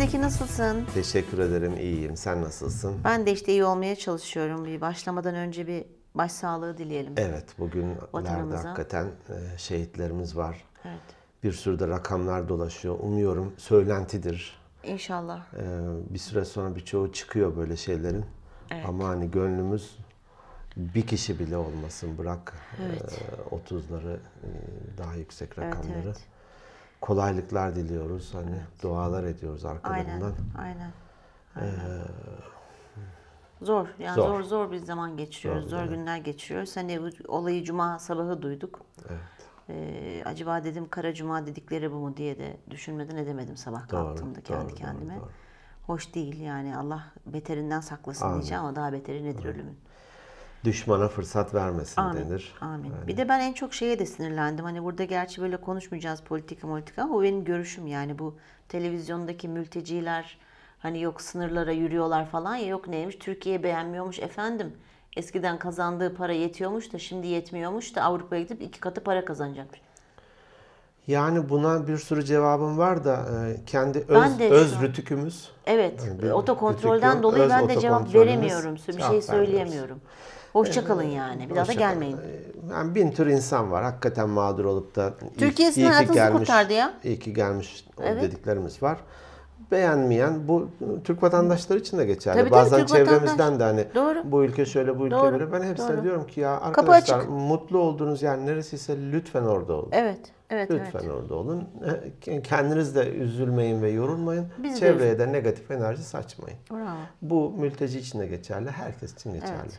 Peki nasılsın? Teşekkür ederim, iyiyim. Sen nasılsın? Ben de işte iyi olmaya çalışıyorum. Bir başlamadan önce bir başsağlığı dileyelim. Evet, bugünlerde Vatanımıza. hakikaten e, şehitlerimiz var. Evet. Bir sürü de rakamlar dolaşıyor. Umuyorum söylentidir. İnşallah. E, bir süre sonra birçoğu çıkıyor böyle şeylerin. Ama hani gönlümüz bir kişi bile olmasın. Bırak e, 30'ları, e, daha yüksek rakamları. evet. Kolaylıklar diliyoruz. Hani dualar ediyoruz Aynen. arkalarından. Aynen. Aynen. Zor. Yani zor. E, zor. zor bir zaman geçiriyoruz. Zor, günler geçiriyoruz. Hani bu olayı cuma sabahı duyduk. Evet. Ee, acaba dedim kara cuma dedikleri bu mu diye de düşünmeden edemedim sabah Doğru, kalktığımda doğru, kendi doğru, kendime. doğru. Hoş değil yani Allah beterinden saklasın diyeceğim ama daha beteri nedir ölümün? Düşmana fırsat vermesin Amin. denir. Amin. Bir de ben en çok şeye de sinirlendim. Hani burada gerçi böyle konuşmayacağız politika politika ama bu benim görüşüm yani bu televizyondaki mülteciler hani yok sınırlara yürüyorlar falan ya yok neymiş Türkiye beğenmiyormuş efendim. Eskiden kazandığı para yetiyormuş da şimdi yetmiyormuş da Avrupa'ya gidip iki katı para kazanacakmış. Yani buna bir sürü cevabım var da e, kendi Ben öz, de öz şu an- rütükümüz. Evet, Yani bir otokontrolden küçük dolayı öz ben de cevap otokontrolümüz veremiyorum. Bir şey cevap söyleyemiyorum. Hoşça kalın yani. Bir daha da hoşça kalın. gelmeyin. Yani bin tür insan var. Hakikaten mağdur olup da iyi- Türkiye sizin hayatınızı kurtardı ya. İyi ki gelmiş o dediklerimiz var. Beğenmeyen bu Türk vatandaşları için de geçerli. Tabii, tabii, Bazen Türk çevremizden vatandaş. de hani Doğru. bu ülke şöyle bu ülke Doğru, böyle. Ben hepsine doğru. diyorum ki ya Kapı arkadaşlar açık. mutlu olduğunuz yer neresiyse lütfen orada olun. Evet, evet, evet. Lütfen orada olun. E, Kendiniz de üzülmeyin ve yorulmayın. Biz de Çevreye de negatif enerji saçmayın. Bravo. Bu mülteci için de geçerli, herkes için geçerli.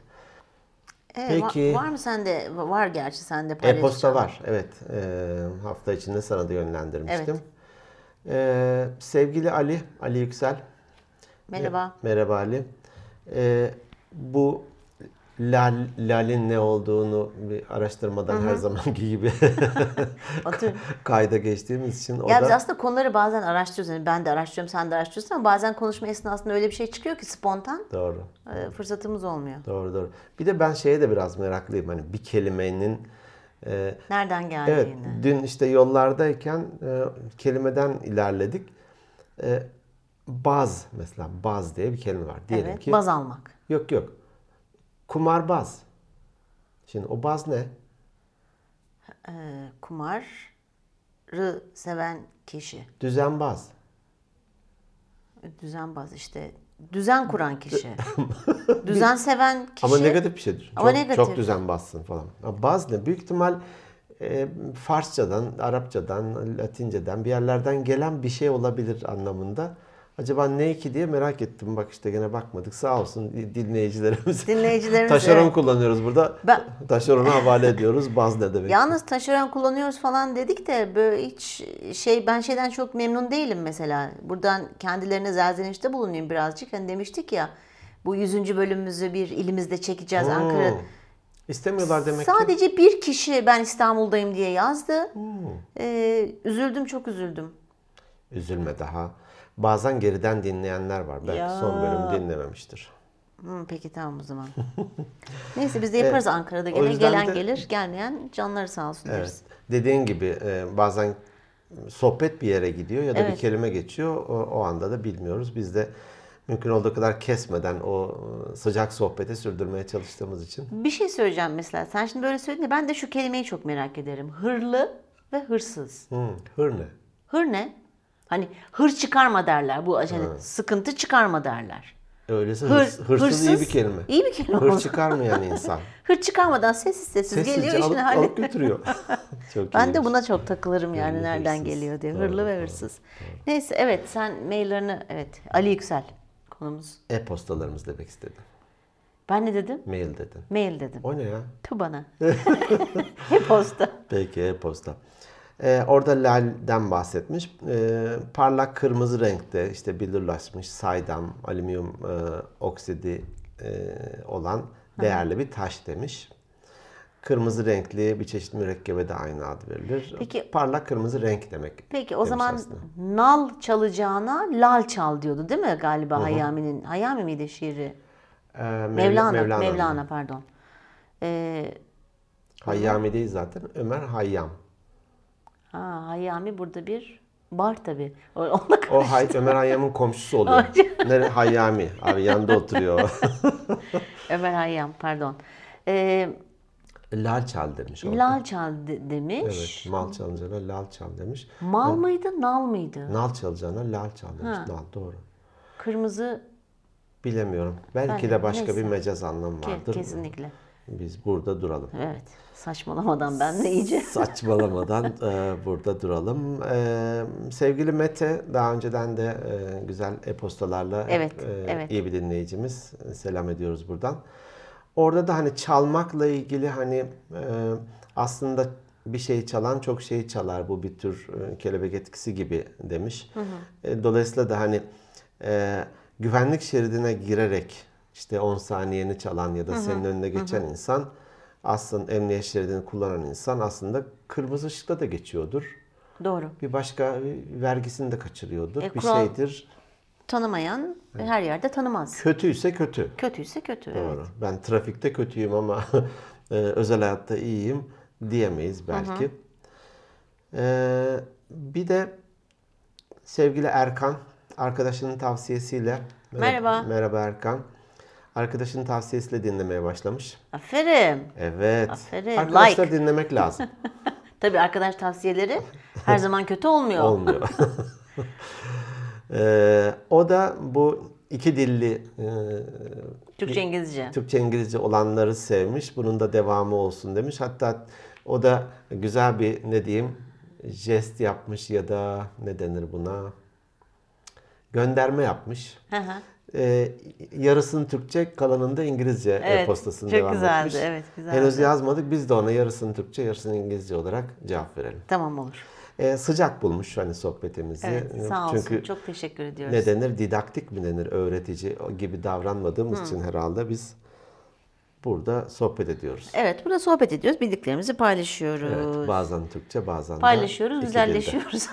Ee, Peki. va- Var, mı sende? Var gerçi sende E-posta var, evet. Ee, hafta içinde sana da yönlendirmiştim. Ee, sevgili Ali, Ali Yüksel. Merhaba. Merhaba Ali. Ee, bu lal, lalin ne olduğunu bir araştırmadan her zamanki gibi Atıyorum. kayda geçtiğimiz için o da... Ya biz aslında konuları bazen araştırıyoruz. Yani ben de araştırıyorum, sen de araştırıyorsun ama bazen konuşma esnasında öyle bir şey çıkıyor ki spontan Doğru. e, fırsatımız olmuyor. Doğru doğru. Bir de ben şeye de biraz meraklıyım. Hani bir kelimenin e, Nereden evet geldiğini. dün işte yollardayken e, kelimeden ilerledik. E, baz mesela baz diye bir kelime var. Diyelim Evet, ki baz almak. yok yok. Kumarbaz. Şimdi o baz ne? E, kumarı seven kişi. Düzenbaz. Düzenbaz işte. Düzen kuran kişi. Düzen seven kişi. Ama negatif bir şeydir. Şey- Ama çok, negatif. çok düzenbazsın falan. Ama baz ne? Büyük ihtimal e, Farsçadan, Arapçadan, Latinceden bir yerlerden gelen bir şey olabilir anlamında. Acaba ne ki diye merak ettim. Bak işte gene bakmadık. Sağ olsun dinleyicilerimiz. Dinleyicilerimiz, Taşeron evet. kullanıyoruz burada. Ben- Taşerona havale ediyoruz. Baz ne demek? Yalnız taşeron kullanıyoruz falan dedik de böyle hiç şey ben şeyden çok memnun değilim mesela. Buradan kendilerine zelzenişte bulunayım birazcık. Hani demiştik ya bu 100. bölümümüzü bir ilimizde çekeceğiz Hmm. Ankara. İstemiyorlar demek ki. Sadece bir kişi ben İstanbul'dayım diye yazdı. Ee, üzüldüm çok üzüldüm. Üzülme daha. Bazen geriden dinleyenler var. Belki Ya. son bölüm dinlememiştir. Hı, peki tamam o zaman. Neyse biz de yaparız Ankara'da o gene. yüzden Gelen de- gelir gelmeyen canları sağ olsun deriz. Evet. Dediğin gibi e, bazen sohbet bir yere gidiyor ya da bir kelime geçiyor. O, o anda da bilmiyoruz. Biz de mümkün olduğu kadar kesmeden o e, sıcak sohbeti sürdürmeye çalıştığımız için. Bir şey söyleyeceğim mesela. Sen şimdi böyle söyledin de ben de şu kelimeyi çok merak ederim. Hırlı ve hırsız. Hı, hır ne? Hır ne? Hani hır çıkarma derler. Bu hani sıkıntı çıkarma derler. Öyleyse Hır, hırs- hırsız, iyi bir kelime. İyi bir kelime. Hır Hır, çıkarmayan insan. hır çıkarmadan sessiz sessiz geliyor Sessizce işini alıp, hallediyor. alıp götürüyor. Çok Ben de iyiymiş. buna çok takılırım yani Hırlı, nereden hırsız. geliyor diye. Doğru, Hırlı ve hırsız. Neyse evet sen maillerini evet Ali Yüksel konumuz. E-postalarımız demek istedim. Ben ne dedim? Mail dedin. Mail dedim. O ne ya? Tu bana. E-posta. Peki e-posta. Ee, orada lalden bahsetmiş. Ee, parlak kırmızı renkte işte bilirlaşmış saydam, alüminyum e, oksidi e, olan değerli bir taş demiş. Kırmızı renkli bir çeşit mürekkebe de aynı ad verilir. Peki- Parlak kırmızı renk demek. Peki o demiş zaman aslında. nal çalacağına lal çal diyordu değil mi galiba Hayami'nin? Hayami miydi şiiri? Ee, Mevla- Mevlana, Mevlana, Mevlana'nın. pardon. Ee, Hayyami değil zaten. Ömer Hayyam. ha, Hayami burada bir Bar tabii. O- Onunla O Hay Ömer Hayyam'ın komşusu oluyor. Nere Hayyami abi yanında oturuyor. Ömer Hayyam pardon. Ee, lal çal demiş. o. lal çal de- demiş. Evet, mal çalacağına lal çal demiş. Mal mıydı, nal mıydı? Nal çalacağına lal çal demiş. Nal doğru. Kırmızı Bilemiyorum. Belki Ben- de başka neyse. bir mecaz anlamı Ke- vardır. kesinlikle. Biz burada duralım. Evet. Saçmalamadan ben de iyice. Saçmalamadan e, burada duralım. E, sevgili Mete daha önceden de e, güzel e-postalarla hep, Evet, e, evet. iyi bir dinleyicimiz. Selam ediyoruz buradan. Orada da hani çalmakla ilgili hani e, aslında bir şeyi çalan çok şeyi çalar. Bu bir tür e, kelebek etkisi gibi demiş. E, dolayısıyla da hani e, güvenlik şeridine girerek işte 10 saniyeni çalan ya da senin önüne geçen insan aslında emniyet şeridini kullanan insan aslında kırmızı ışıkta da geçiyordur. Doğru. Bir başka bir vergisini de kaçırıyordur. E, bir kural- şeydir. Tanımayan her yerde tanımaz. Kötüyse kötü. Kötüyse kötü. evet. Doğru. Ben trafikte kötüyüm ama e, özel hayatta iyiyim diyemeyiz belki. Ee, bir de sevgili Erkan arkadaşının tavsiyesiyle Merhaba. Merhaba Erkan. Arkadaşının tavsiyesiyle dinlemeye başlamış. Aferin. Evet. Aferin, Arkadaşlar dinlemek lazım. Tabii arkadaş tavsiyeleri her zaman kötü olmuyor. Olmuyor. Ee, o da bu iki dilli e, Türkçe, İngilizce. Türkçe İngilizce olanları sevmiş. Bunun da devamı olsun demiş. Hatta o da güzel bir ne diyeyim jest yapmış ya da ne denir buna gönderme yapmış. Hı hı. Ee, yarısını Türkçe, kalanını da İngilizce Evet, e-postasını çok devam güzeldi, etmiş. evet, güzeldi. Henüz yazmadık. Biz de ona yarısını Türkçe, yarısını İngilizce olarak cevap verelim. tamam olur. Ee, sıcak bulmuş hani sohbetimizi. Evet, sağ olsun. Çünkü Çok teşekkür ediyoruz. ne denir didaktik mi denir öğretici gibi davranmadığımız için herhalde biz burada sohbet ediyoruz. Evet, burada sohbet ediyoruz. Bildiklerimizi paylaşıyoruz. Evet, bazen Türkçe bazen de Paylaşıyoruz, iki dilde. güzelleşiyoruz.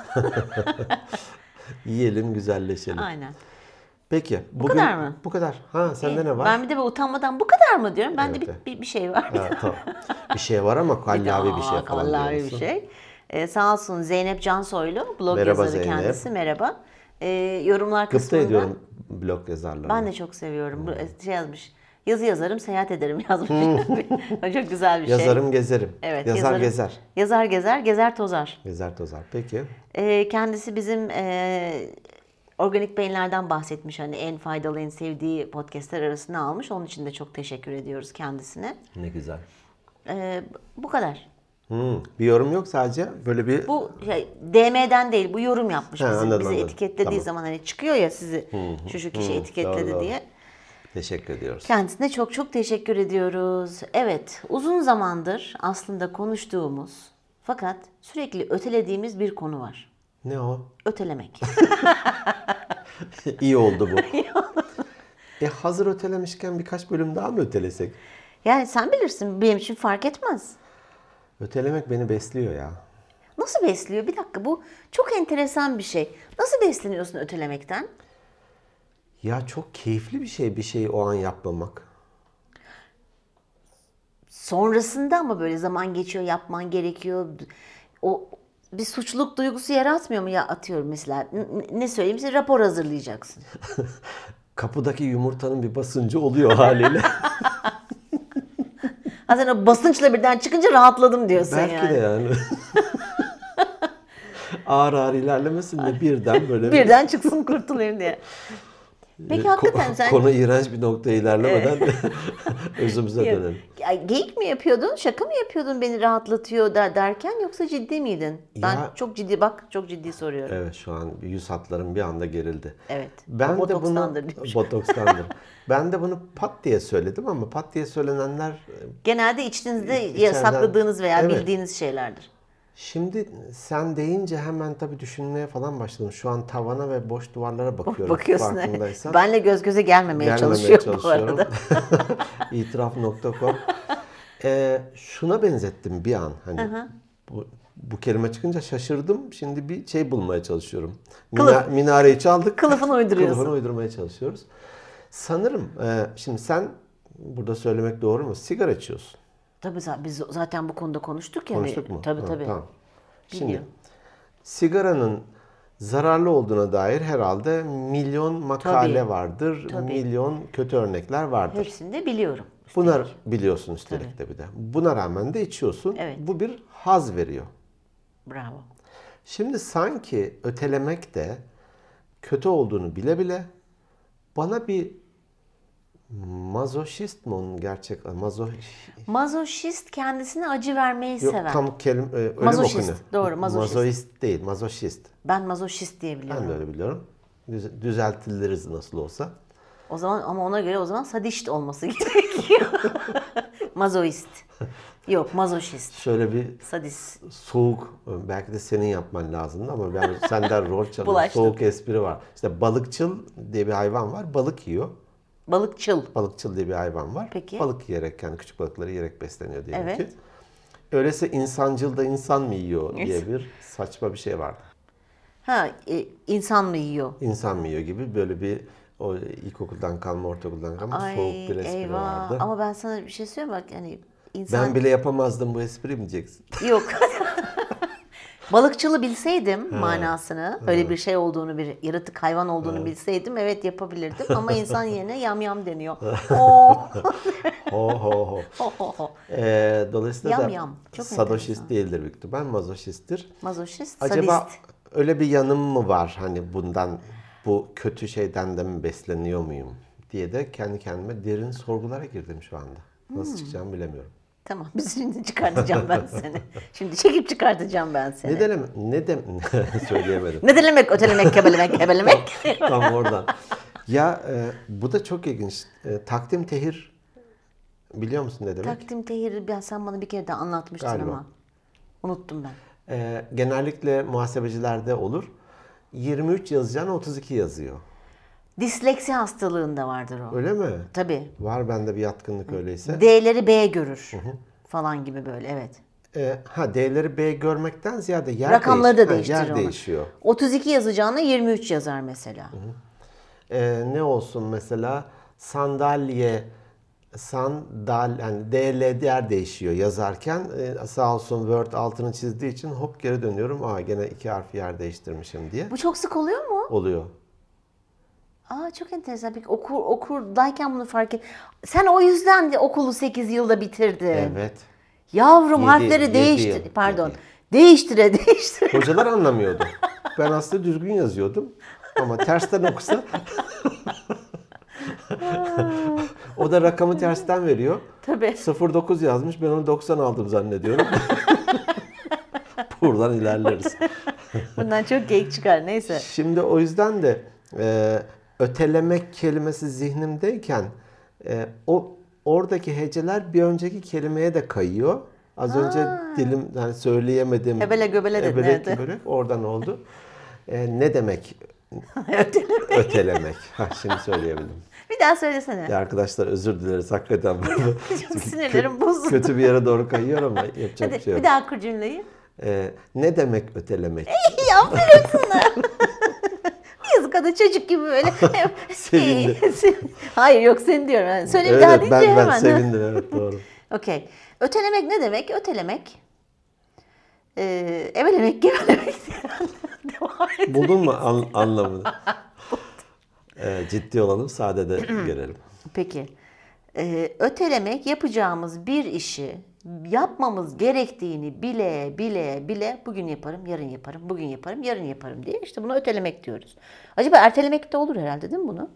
Yiyelim güzelleşelim. Aynen. Peki bugün, bu kadar mı? Bu kadar. Ha sende ne var? Ben bir de böyle utanmadan bu kadar mı diyorum. Ben de Evet. bir, bir, bir şey var. Ha, tamam. Bir şey var ama kallavi bir şey Aa, falan vallahi diyorsun. bir şey. Ee, sağ olsun Zeynep Cansoylu, blog Merhaba yazarı Zeynep. kendisi. Merhaba. Ee, yorumlar Gıpta kısmında ediyorum Hmm. blog yazarlarına. ben de çok seviyorum. Bu Şey yazmış. Yazı yazarım, seyahat ederim yazmış. çok güzel bir şey. Hmm. Yazarım gezerim. Evet, Yazar yazarım. gezer. Yazar gezer, gezer tozar. Gezer tozar. Peki. Ee, kendisi bizim e, organik beyinlerden bahsetmiş. Hani en faydalı, en sevdiği podcastler arasına almış. Onun için de çok teşekkür ediyoruz kendisine. Ne güzel. Ee, bu kadar. Hmm, bir yorum yok sadece böyle bir Bu şey, DM'den değil bu yorum yapmış Ha, bizim. anladım, bizi anladım. etiketlediği Tamam. zaman hani çıkıyor ya sizi şu şu kişi etiketledi doğru, doğru. diye. teşekkür ediyoruz. Kendisine çok çok teşekkür ediyoruz. Evet uzun zamandır aslında konuştuğumuz fakat sürekli ötelediğimiz bir konu var. Ne o? Ötelemek. İyi oldu bu. e hazır ötelemişken birkaç bölüm daha mı ötelesek? yani sen bilirsin benim için fark etmez. Ötelemek beni besliyor ya. Nasıl besliyor? Bir dakika bu çok enteresan bir şey. Nasıl besleniyorsun ötelemekten? Ya çok keyifli bir şey bir şeyi o an yapmamak. sonrasında ama böyle zaman geçiyor yapman gerekiyor. O bir suçluluk duygusu yaratmıyor mu ya atıyorum mesela n- n- ne söyleyeyim size rapor hazırlayacaksın. Kapıdaki yumurtanın bir basıncı oluyor haliyle. Aslında o basınçla birden çıkınca rahatladım diyorsun Belki yani. de yani. ağır ağır ilerlemesin de birden böyle bir- Birden çıksın kurtulayım diye. Peki ko- hakikaten sen konu iğrenç bir noktaya ilerlemeden özümüze dönelim. Ya, geyik mi yapıyordun? Şaka mı yapıyordun beni rahatlatıyor der, derken yoksa ciddi miydin? Ya- Ben çok ciddi bak çok ciddi soruyorum. Evet şu an yüz hatlarım bir anda gerildi. Evet. Ben de bunu Botokslandır diyormuş. botokslandır. ben de bunu pat diye söyledim ama pat diye söylenenler e, Genelde içinizde ya İçeriden- sakladığınız veya Evet. bildiğiniz şeylerdir. Şimdi sen deyince hemen tabii düşünmeye falan başladım. Şu an tavana ve boş duvarlara bakıyorum Bakıyorsun. farkındaysan. Benle göz göze gelmemeye, Gelmemeye çalışıyor bu arada. çalışıyorum. İtiraf.com Ee, şuna benzettim bir an. Hani bu, bu kelime çıkınca şaşırdım. Şimdi bir şey bulmaya çalışıyorum. Mina- Kılıf. minareyi çaldık. Kılıfını uyduruyorsun. Kılıfını uydurmaya çalışıyoruz. Sanırım e, şimdi sen burada söylemek doğru mu? Sigara içiyorsun. Tabii za- biz zaten bu konuda konuştuk ya. hani Konuştuk mu? Tabii Ha, tabii. Tamam. Şimdi Biliyor. sigaranın zararlı olduğuna dair herhalde milyon makale Tabii. vardır, Tabii. şey. milyon kötü örnekler vardır. Hepsini de biliyorum. Buna biliyorsun üstelik de bir de. Buna rağmen de içiyorsun. Evet. Bu bir haz veriyor. Bravo. Şimdi sanki ötelemek de kötü olduğunu bile bile bana bir mazoşist mi onun gerçek mazoşist Mazoşist kendisine acı vermeyi Yok, seven. tam kelime e, öyle Mazoşist, mi okunuyor? doğru, mazoşist. Mazoist değil mazoşist. Ben mazoşist diye biliyorum. Ben de öyle biliyorum. Düz- Düzeltiliriz nasıl olsa. O zaman ama ona göre o zaman sadist olması gerekiyor. Mazoist. Yok mazoşist. Şöyle bir Sadist. soğuk e, belki de senin yapman lazımdı ama ben senden rol çalıyorum. Bulaştım. soğuk espri var. İşte balıkçıl diye bir hayvan var. Balık yiyor. Balıkçıl. Balıkçıl diye bir hayvan var. Peki. Balık yiyerek yani küçük balıkları yiyerek besleniyor diyelim Evet. ki. Öyleyse insancıl da insan mı yiyor diye Evet. bir saçma bir şey vardı. Ha e, insan mı yiyor? İnsan mı yiyor gibi böyle bir o ilkokuldan kalma ortaokuldan kalma soğuk bir espri vardı. Ama ben sana bir şey söyleyeyim mi? bak hani insan Ben bile yapamazdım bu espriyi mi diyeceksin? yok. Balıkçılı bilseydim manasını, böyle bir şey olduğunu, bir yaratık hayvan olduğunu bilseydim evet yapabilirdim ama insan yerine yamyam deniyor. Oo. Ho ho ho. Ho, ho, ho. Ee, dolayısıyla Yam da yam. Çok sadoşist enteresan. değildir büyük ihtimal mazoşisttir. Mazoşist, Acaba sadist. öyle bir yanım mı var hani bundan bu kötü şeyden de mi besleniyor muyum diye de kendi kendime derin sorgulara girdim şu anda. Nasıl çıkacağımı bilemiyorum. Tamam biz şimdi çıkartacağım ben seni. Şimdi çekip çıkartacağım ben seni. Ne demek? Ne dem söyleyemedim. Ne delemek, ötelemek, kebelemek, kebelemek. Tam oradan. Ya e, bu da çok ilginç. E, takdim tehir biliyor musun ne demek? Takdim tehiri ben sen bana bir kere daha anlatmıştın Galiba. ama. Unuttum ben. E, genellikle muhasebecilerde olur. 23 yazacağına 32 yazıyor. Disleksi hastalığında vardır o. Öyle mi? Tabii. Var bende bir yatkınlık öyleyse. D'leri B görür. Falan gibi böyle evet. E, ha D'leri B görmekten ziyade yer Rakamları değiş- da ha, değiştirir yer onu. değişiyor. 32 yazacağına 23 yazar mesela. E, ne olsun mesela sandalye sandal yani DL yer değişiyor yazarken e, sağ olsun Word altını çizdiği için hop geri dönüyorum. Aa gene iki harf yer değiştirmişim diye Bu çok sık oluyor mu? oluyor. Aa çok enteresan. Peki okur okurdayken bunu fark et. Sen o yüzden de okulu 8 yılda bitirdin. Evet. Yavrum Yedi- harfleri yedi değiştir. yıl. Pardon. Yedi. Değiştire değiştire. Hocalar anlamıyordu. Ben aslında düzgün yazıyordum ama tersten okusa o da rakamı tersten veriyor. Tabii. 09 yazmış. Ben onu 90 aldım zannediyorum. Buradan ilerleriz. Bundan çok geyik çıkar. Neyse. Şimdi o yüzden de e, ötelemek kelimesi zihnimdeyken e, o oradaki heceler bir önceki kelimeye de kayıyor. Az önce dilim yani söyleyemedim. Ebele göbele dedin, Ebelek evet. göbelek, oradan oldu. E, ne demek ötelemek? ha, şimdi söyleyebildim. Bir daha söylesene. Ya arkadaşlar özür dileriz hakikaten. Çok sinirlerim bozuldu. Kötü bir yere doğru kayıyor ama yapacak Hadi bir şey yok. bir daha kur cümleyi. Ee, ne demek ötelemek? Aferin sana. Yazık adı çocuk gibi böyle. Sevindi. Hayır yok seni diyorum. Yani söyle bir Evet, daha deyince ben, hemen. ben sevindim evet doğru. Okey. Ötelemek ne demek? Ötelemek. Ee, evelemek, gevelemek. Devam et. Buldun mu an- anlamını? Ee, ciddi olalım sade de görelim. Peki. Ee, ötelemek yapacağımız bir işi yapmamız gerektiğini bile bile bile bugün yaparım, yarın yaparım, bugün yaparım, yarın yaparım diye işte buna ötelemek diyoruz. Acaba ertelemek de olur herhalde değil mi bunu?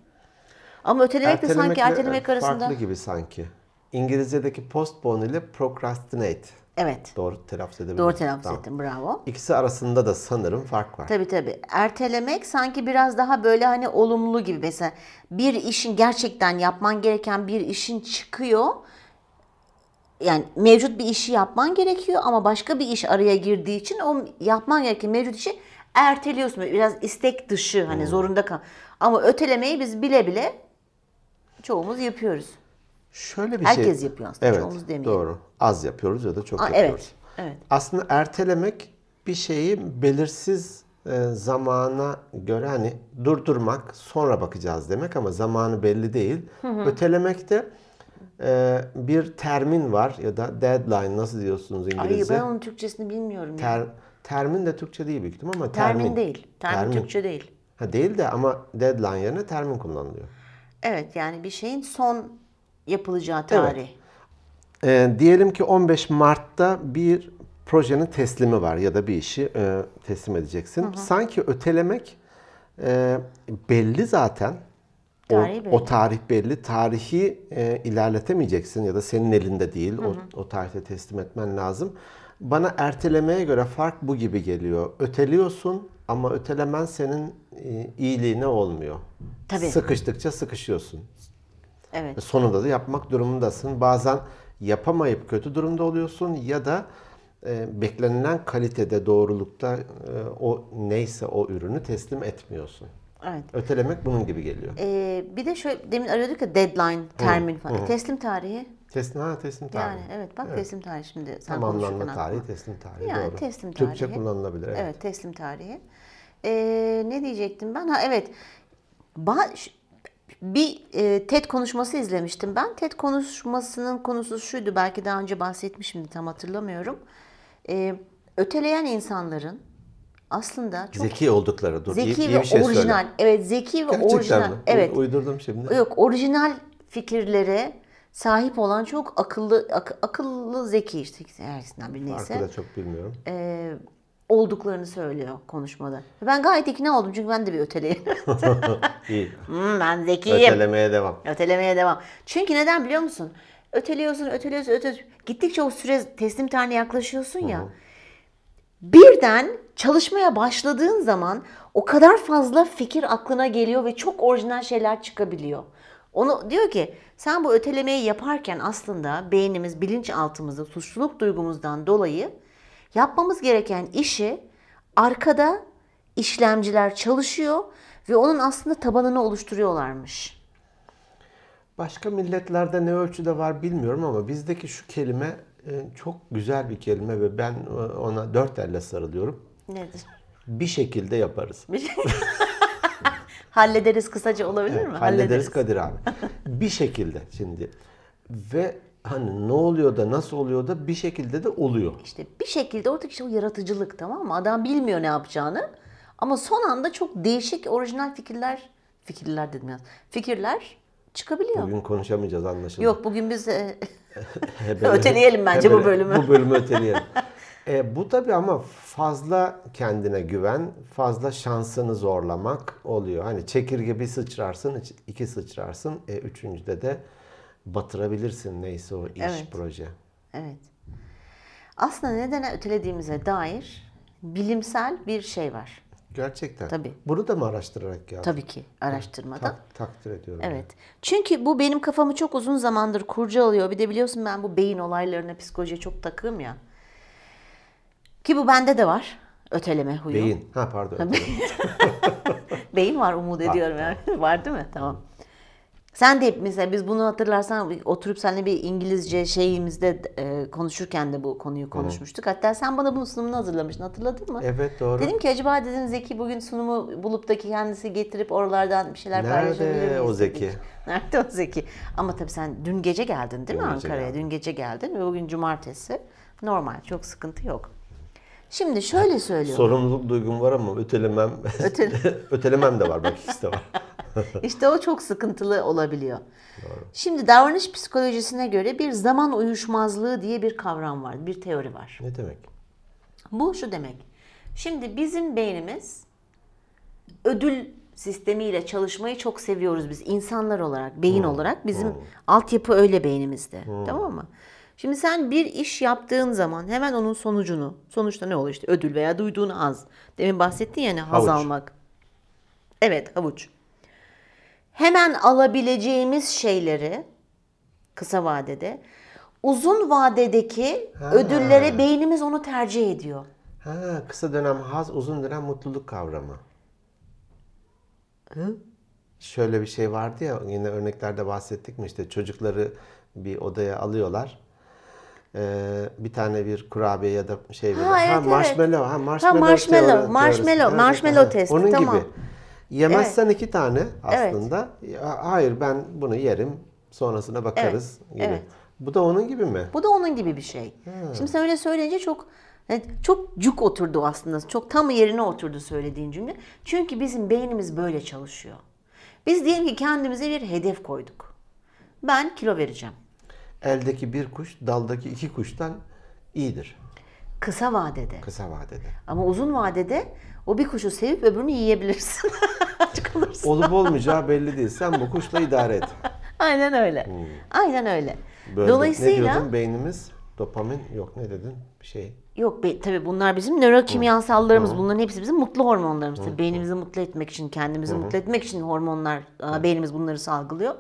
Ama ötelemek de sanki Ertelemekle ertelemek arasında. Farklı gibi sanki. İngilizce'deki postpone ile procrastinate. Evet. Doğru telaffuz edebilirim. Doğru telaffuz Tamam. ettin. Bravo. İkisi arasında da sanırım fark var. Tabii tabii. Ertelemek sanki biraz daha böyle hani olumlu gibi. Mesela bir işin gerçekten yapman gereken bir işin çıkıyor. Yani mevcut bir işi yapman gerekiyor ama başka bir iş araya girdiği için o yapman gereken mevcut işi erteliyorsun. Böyle Biraz istek dışı Hmm. hani zorunda kal. Ama ötelemeyi biz bile bile çoğumuz yapıyoruz. Şöyle bir şey. Herkes yapıyor aslında, Evet çoğumuz demeyelim. doğru. Az yapıyoruz ya da çok Aa, yapıyoruz. evet. Evet. Aslında ertelemek bir şeyi belirsiz e, zamana göre hani durdurmak, sonra bakacağız demek ama zamanı belli değil. Ötelemek de e, bir termin var ya da deadline nasıl diyorsunuz Ay İngilizce? ben onun Türkçesini bilmiyorum. ya. Ter- Termin de Türkçe değil büyük ihtimal ama Termin, termin. değil. Termin, Termin. Türkçe değil. Ha, değil de ama deadline yerine termin kullanılıyor. Evet yani bir şeyin son yapılacağı Evet. tarih. Ee, diyelim ki 15 Mart'ta bir projenin teslimi var ya da bir işi e, teslim edeceksin. Sanki ötelemek e, belli zaten. O, Tarihi belli. o tarih belli. Tarihi e, ilerletemeyeceksin ya da senin elinde değil. O, o tarihte teslim etmen lazım. Bana ertelemeye göre fark bu gibi geliyor. Öteliyorsun ama ötelemen senin e, iyiliğine olmuyor. Tabii. Sıkıştıkça sıkışıyorsun. Evet. Sonunda da yapmak durumundasın. Bazen yapamayıp kötü durumda oluyorsun ya da e, beklenilen kalitede, doğrulukta e, o neyse o ürünü teslim etmiyorsun. Evet. Ötelemek bunun gibi geliyor. Ee, bir de şöyle demin arıyorduk ya deadline, termin falan. E, teslim tarihi. Teslim, ha teslim tarihi. Yani evet bak teslim tarihi şimdi sen konuşurken Tamamlanma aklıma. tarihi, teslim tarihi. Yani doğru. teslim Türkçe tarihi. kullanılabilir. Evet. Evet, teslim tarihi. Ee, ne diyecektim ben? Ha evet. Ba- ş- bir e, TED konuşması izlemiştim ben. TED konuşmasının konusu şuydu. Belki daha önce bahsetmişimdi tam hatırlamıyorum. Ee, öteleyen insanların aslında çok Zeki oldukları. Dur, zeki iyi, iyi ve bir şey söyle. orijinal. Evet, zeki ve Gerçekten orijinal. mi? Evet. U- Uydurdum şimdi. Yok orijinal fikirlere sahip olan çok akıllı ak- akıllı zeki işte herkesinden bir neyse Arkada çok bilmiyorum. e, olduklarını söylüyor konuşmada. Ben gayet ikna oldum çünkü ben de bir öteleyim. İyi. Hmm, ben zekiyim. Ötelemeye devam. Ötelemeye devam. Çünkü neden biliyor musun? Öteliyorsun, öteliyorsun, öteliyorsun. Gittikçe o süre teslim tarihine yaklaşıyorsun ya. Birden çalışmaya başladığın zaman o kadar fazla fikir aklına geliyor ve çok orijinal şeyler çıkabiliyor. Onu diyor ki sen bu ötelemeyi yaparken aslında beynimiz bilinçaltımızda suçluluk duygumuzdan dolayı yapmamız gereken işi arkada işlemciler çalışıyor ve onun aslında tabanını oluşturuyorlarmış. Başka milletlerde ne ölçüde var bilmiyorum ama bizdeki şu kelime e, çok güzel bir kelime ve ben e, ona dört elle sarılıyorum. Nedir? Bir şekilde yaparız. Hallederiz kısaca olabilir mi? Hallederiz Kadir abi. bir şekilde şimdi. Ve hani ne oluyor da nasıl oluyor da bir şekilde de oluyor. İşte bir şekilde oradaki şey o yaratıcılık tamam mı? Adam bilmiyor ne yapacağını. Ama son anda çok değişik orijinal fikirler, fikirler dedim ya. Fikirler çıkabiliyor. Bugün konuşamayacağız anlaşıldı. Yok bugün biz e, Hebele- Öteleyelim bence bu bölümü. Bu bölümü öteleyelim. E, bu tabii ama fazla kendine güven, fazla şansını zorlamak oluyor. Hani çekirge bir sıçrarsın, iç- iki sıçrarsın, e, üçüncüde de batırabilirsin neyse o iş, Evet. proje. evet. Aslında neden ötelediğimize dair bilimsel bir şey var. Gerçekten. Tabii. Bunu da mı araştırarak yaptın? Tabii ki araştırmada. Tak- takdir ediyorum. Evet. Çünkü bu benim kafamı çok uzun zamandır kurcalıyor. Bir de biliyorsun ben bu beyin olaylarına, psikolojiye çok takığım ya. Ki bu bende de var. Öteleme huyu. Beyin. Ha pardon. Beyin var umut ediyorum yani. var değil mi? Tamam. Sen de mesela biz bunu hatırlarsan oturup seninle bir İngilizce şeyimizde e, konuşurken de bu konuyu konuşmuştuk. Hatta sen bana bunun sunumunu hazırlamıştın hatırladın mı? evet doğru. Dedim ki acaba dedim Zeki bugün sunumu bulup da ki kendisi getirip oralardan bir şeyler Nerede paylaşabilir miyiz? o dedik. Zeki? Nerede o Zeki? Ama tabii sen dün gece geldin değil mi Dün gece Ankara'ya? geldim. Dün gece geldin ve bugün cumartesi. Normal çok sıkıntı yok. Şimdi şöyle söylüyorum. Sorumluluk duygum var ama ötelemem ötelemem de var. Bak ikisi de var. İşte o çok sıkıntılı olabiliyor. Şimdi davranış psikolojisine göre bir zaman uyuşmazlığı diye bir kavram var, bir teori var. Ne demek? Bu şu demek. Şimdi bizim beynimiz ödül sistemiyle çalışmayı çok seviyoruz biz insanlar olarak, beyin olarak. Bizim altyapı öyle beynimizde. Tamam mı? Şimdi sen bir iş yaptığın zaman hemen onun sonucunu, sonuçta ne oluyor işte ödül veya duyduğun haz. Demin bahsettin ya hani haz Havuç. almak. Evet, havuç. Hemen alabileceğimiz şeyleri kısa vadede uzun vadedeki ödüllere beynimiz onu tercih ediyor. Ha, kısa dönem haz, uzun dönem mutluluk kavramı. Şöyle bir şey vardı ya, yine örneklerde bahsettik mi işte çocukları bir odaya alıyorlar. Ee, bir tane bir kurabiye ya da şey veriyor. evet, evet. marshmallow, ha marshmallow. marshmallow, teori- teorisi. marshmallow, Evet, marshmallow aha. testi, Onun tamam. gibi. Yemezsen iki tane aslında. Ya, Hayır ben bunu yerim, sonrasına bakarız gibi. evet. Bu da onun gibi mi? Bu da onun gibi bir şey. Şimdi sen öyle söyleyince çok Evet, çok cuk oturdu aslında. Çok tam yerine oturdu söylediğin cümle. Çünkü bizim beynimiz böyle çalışıyor. Biz diyelim ki kendimize bir hedef koyduk. Ben kilo vereceğim. Eldeki bir kuş daldaki iki kuştan iyidir Kısa vadede. kısa vadede. Ama uzun vadede o bir kuşu sevip öbürünü yiyebilirsin. Aç kalırsın. Olup olmayacağı belli değil. Sen bu kuşla idare et. Aynen öyle. Aynen öyle. Böyle ne Dolayısıyla diyordun beynimiz dopamin yok ne dedin bir şey. Yok be, tabii bunlar bizim nörokimyasallarımız. Bunların hepsi bizim mutlu hormonlarımız. Tabii beynimizi mutlu etmek için, kendimizi mutlu etmek için hormonlar, aa, beynimiz bunları salgılıyor.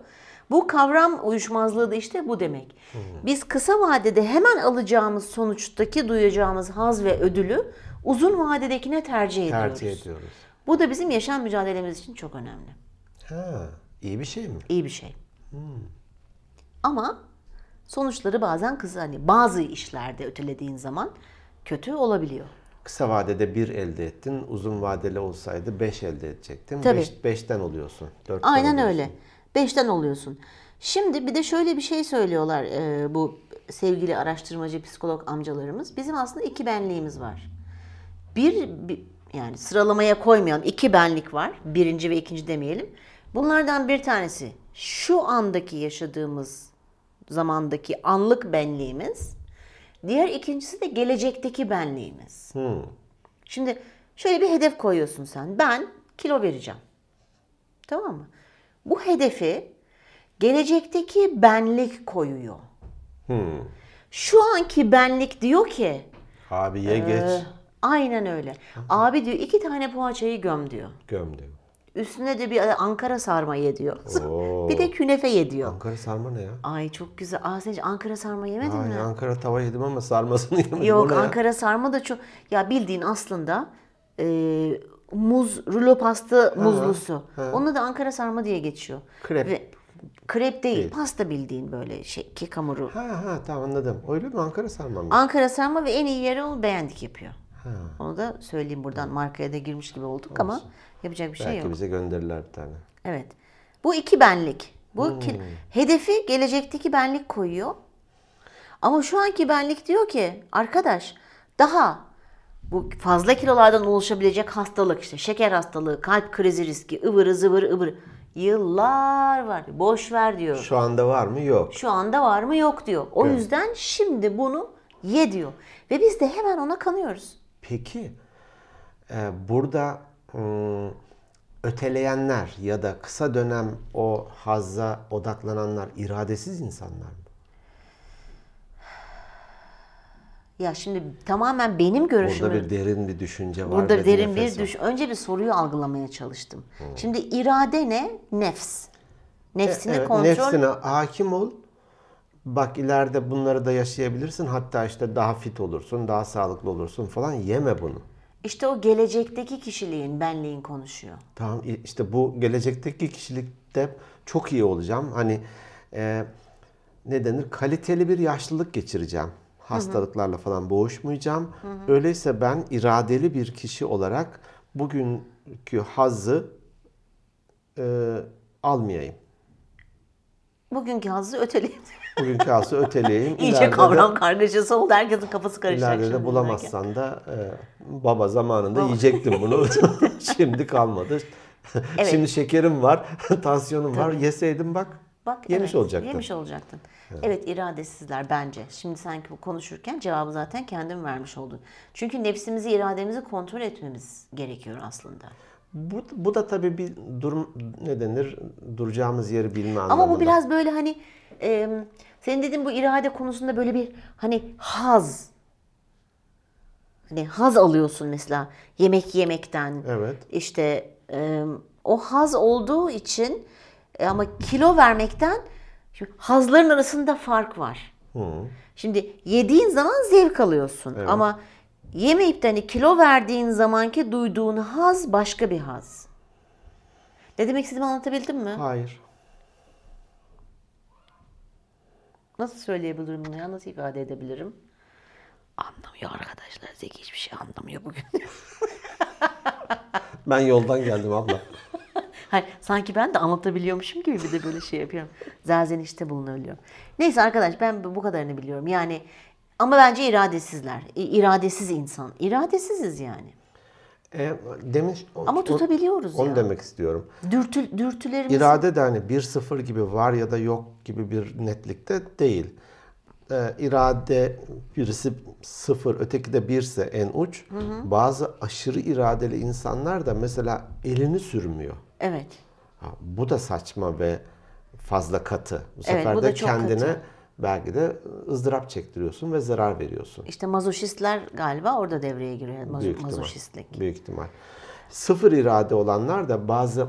Bu kavram uyuşmazlığı da işte bu demek. Biz kısa vadede hemen alacağımız sonuçtaki duyacağımız haz ve ödülü uzun vadedekine tercih ediyoruz. Tercih ediyoruz. Bu da bizim yaşam mücadelemiz için çok önemli. Ha, iyi bir şey mi? İyi bir şey. Ama sonuçları bazen kısa hani bazı işlerde ötelediğin zaman kötü olabiliyor. Kısa vadede bir elde ettin. Uzun vadeli olsaydı beş elde edecektin. Tabii. Beş, beşten oluyorsun. Dörtten Aynen oluyorsun. öyle. Beşten oluyorsun. Şimdi bir de şöyle bir şey söylüyorlar e, bu sevgili araştırmacı psikolog amcalarımız. Bizim aslında iki benliğimiz var. Bir, bir- yani sıralamaya koymayalım iki benlik var. Birinci ve ikinci demeyelim. Bunlardan bir tanesi şu andaki yaşadığımız zamandaki anlık benliğimiz. Diğer ikincisi de gelecekteki benliğimiz. Şimdi şöyle bir hedef koyuyorsun sen. Ben kilo vereceğim. Tamam mı? Bu hedefi gelecekteki benlik koyuyor. Şu anki benlik diyor ki Abi Ee, ye geç aynen öyle. Abi diyor iki tane poğaçayı göm diyor. gömdü. Üstüne de bir e, Ankara sarma ye diyor. Oo. bir de künefe ye diyor. Ankara sarma ne ya? Ay çok güzel. Aa sen hiç Ankara sarma yemedin Ay, mi? Ankara tava yedim ama sarmasını yemedim. O Yok ne ya? Ankara sarma da çok ya bildiğin aslında e, muz rulo pasta muzlusu. Onu da Ankara sarma diye geçiyor. Krep. krep değil, pasta bildiğin böyle şey kek hamuru. Ha ha tamam anladım. Öyle mi Ankara sarma mı? Ankara sarma ve en iyi yeri onu beğendik yapıyor. Onu da söyleyeyim buradan markaya da girmiş gibi olduk ama yapacak bir şey Belki yok. bize gönderirler bir tane. Evet. Bu iki benlik. Bu ki- hedefi gelecekteki benlik koyuyor. Ama şu anki benlik diyor ki arkadaş daha bu fazla kilolardan oluşabilecek hastalık işte şeker hastalığı, kalp krizi riski, ıvırı zıvırı ıvırı yıllar var. Boş ver diyor. Şu anda var mı? Yok. Şu anda var mı yok diyor. O yüzden şimdi bunu ye diyor. Ve biz de hemen ona kanıyoruz. Peki e, burada ım, öteleyenler ya da kısa dönem o hazza odaklananlar iradesiz insanlar mı? Ya şimdi tamamen benim görüşümü Burada bir derin bir düşünce var. Burada ve derin nefes Hmm. var. bir düş. Önce bir soruyu algılamaya çalıştım. Şimdi irade ne? Nefs. Nefsini Evet, kontrol. Nefsine hakim ol. Bak ileride bunları da yaşayabilirsin. Hatta işte daha fit olursun, daha sağlıklı olursun falan. Yeme bunu. İşte o gelecekteki kişiliğin, benliğin konuşuyor. Tamam i- işte bu gelecekteki kişilikte çok iyi olacağım. Hani e, ne denir? Kaliteli bir yaşlılık geçireceğim. Hastalıklarla falan boğuşmayacağım. Öyleyse ben iradeli bir kişi olarak bugünkü hazzı e, almayayım. Bugünkü hazzı öteleyin. Bugünkü hazzı öteleyeyim. İyice İleride de- kavram kargaşası oldu. Herkesin kafası karışacak. İleride de şimdi bulamazsan da e, baba zamanında yiyecektim bunu. Şimdi kalmadı. Şimdi şekerim var, tansiyonum var. Yeseydim bak, Bak, yemiş evet, olacaktım. Yemiş olacaktın. Evet. iradesizler bence. Şimdi sanki bu konuşurken cevabı zaten kendim vermiş oldun. Çünkü nefsimizi, irademizi kontrol etmemiz gerekiyor aslında. Bu, bu da tabii bir durum ne denir? Duracağımız yeri bilme anlamında. Ama bu biraz böyle hani e, senin dediğin bu irade konusunda böyle bir hani haz. Hani haz alıyorsun mesela yemek yemekten. Evet. İşte e, o haz olduğu için e, ama kilo vermekten şimdi hazların arasında fark var. Şimdi yediğin zaman zevk alıyorsun ama yemeyip de hani kilo verdiğin zamanki duyduğun haz başka bir haz. Ne demek istediğimi anlatabildim mi? Hayır. Nasıl söyleyebilirim bunu ya? Nasıl ifade edebilirim? Anlamıyor arkadaşlar. Zeki hiçbir şey anlamıyor bugün. Ben yoldan geldim abla. Hayır, sanki ben de anlatabiliyormuşum gibi bir de böyle şey yapıyorum. Zelzenişte bulunuyorum. Neyse arkadaş ben bu kadarını biliyorum. Yani Ama bence iradesizler. İ- iradesiz insan. İradesiziz yani. E, demiş, o- Ama o- tutabiliyoruz Onu ya. demek istiyorum. Dürtü, dürtülerimiz İrade de hani 1-0 gibi var ya da yok gibi bir netlikte değil. Ee, irade birisi 0 öteki de 1 ise en uç. Bazı aşırı iradeli insanlar da mesela elini sürmüyor. evet. Ha, bu da saçma ve fazla katı. Bu Evet, sefer bu de da çok katı. kendine belki de ızdırap çektiriyorsun ve zarar veriyorsun. İşte mazoşistler galiba orada devreye giriyor. Mazo- Büyük ihtimal. mazoşistlik. Büyük ihtimal. Sıfır irade olanlar da bazı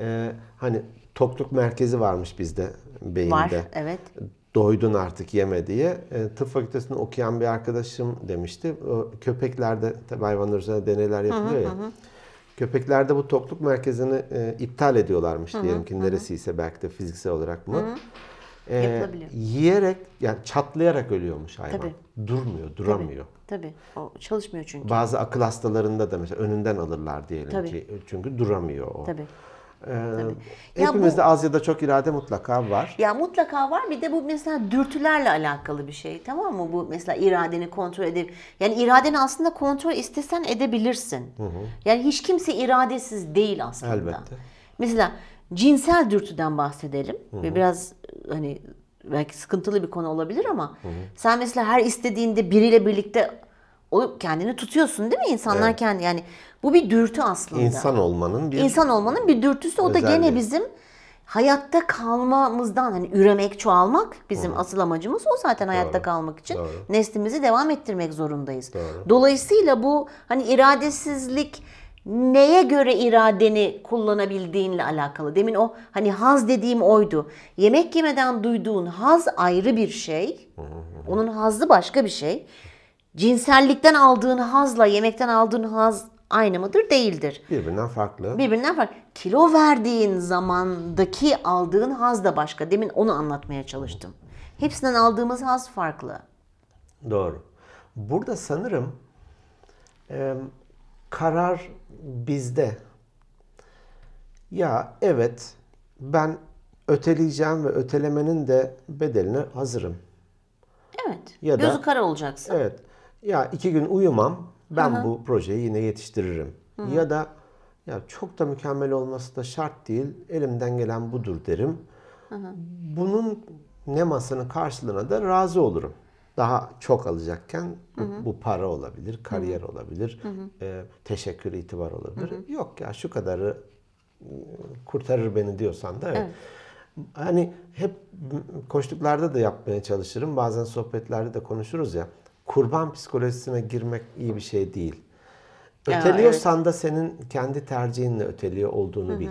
e, hani tokluk merkezi varmış bizde beyinde. Var. Evet. Doydun artık yeme diye. E, tıp fakültesinde okuyan bir arkadaşım demişti. O köpeklerde tabii hayvanlar üzerine deneyler yapılıyor ya. Köpeklerde bu tokluk merkezini e, iptal ediyorlarmış diyelim ki neresiyse belki de fiziksel olarak mı? E, Yapılabiliyor. yiyerek yani çatlayarak ölüyormuş hayvan. Tabii. Durmuyor, duramıyor. Tabii. O çalışmıyor çünkü. Bazı akıl hastalarında da mesela önünden alırlar diyelim Tabii. ki. Çünkü duramıyor o. Tabii. Ee, Ya hepimizde az ya da çok irade mutlaka var. Ya mutlaka var. Bir de bu mesela dürtülerle alakalı bir şey. Tamam mı? Bu mesela iradeni kontrol edip yani iradeni aslında kontrol istesen edebilirsin. Yani hiç kimse iradesiz değil aslında. Elbette. Mesela cinsel dürtüden bahsedelim. Ve biraz hani belki sıkıntılı bir konu olabilir ama sen mesela her istediğinde biriyle birlikte olup kendini tutuyorsun değil mi? İnsanlar kendi yani bu bir dürtü aslında. İnsan olmanın bir İnsan olmanın bir dürtüsü o da Özelliği. gene bizim hayatta kalmamızdan hani üremek, çoğalmak bizim asıl amacımız o zaten hayatta Doğru. kalmak için. Doğru. Neslimizi devam ettirmek zorundayız. Doğru. Dolayısıyla bu hani iradesizlik neye göre iradeni kullanabildiğinle alakalı. Demin o hani haz dediğim oydu. Yemek yemeden duyduğun haz ayrı bir şey. Onun hazzı başka bir şey. Cinsellikten aldığın hazla yemekten aldığın haz aynı mıdır? Değildir birbirinden farklı. birbirinden farklı. Kilo verdiğin zamandaki aldığın haz da başka. Demin onu anlatmaya çalıştım. Hepsinden aldığımız haz farklı. Doğru. Burada sanırım e, karar bizde. Ya evet ben öteleyeceğim ve ötelemenin de bedeline hazırım. Evet. Ya da- Gözü kara olacaksın. Evet. Ya iki gün uyumam. Ben bu projeyi yine yetiştiririm. Ya da ya çok da mükemmel olması da şart değil. Elimden gelen budur derim. Bunun nemasının karşılığına da razı olurum. Daha çok alacakken bu, bu para olabilir, kariyer olabilir, e, teşekkür, itibar olabilir. Yok ya şu kadarı e, kurtarır beni diyorsan da evet. Hani hep koştuklarda da yapmaya çalışırım. Bazen sohbetlerde de konuşuruz ya. Kurban psikolojisine girmek iyi bir şey değil. Ya, Öteliyorsan da senin kendi tercihinle öteliyor olduğunu bil.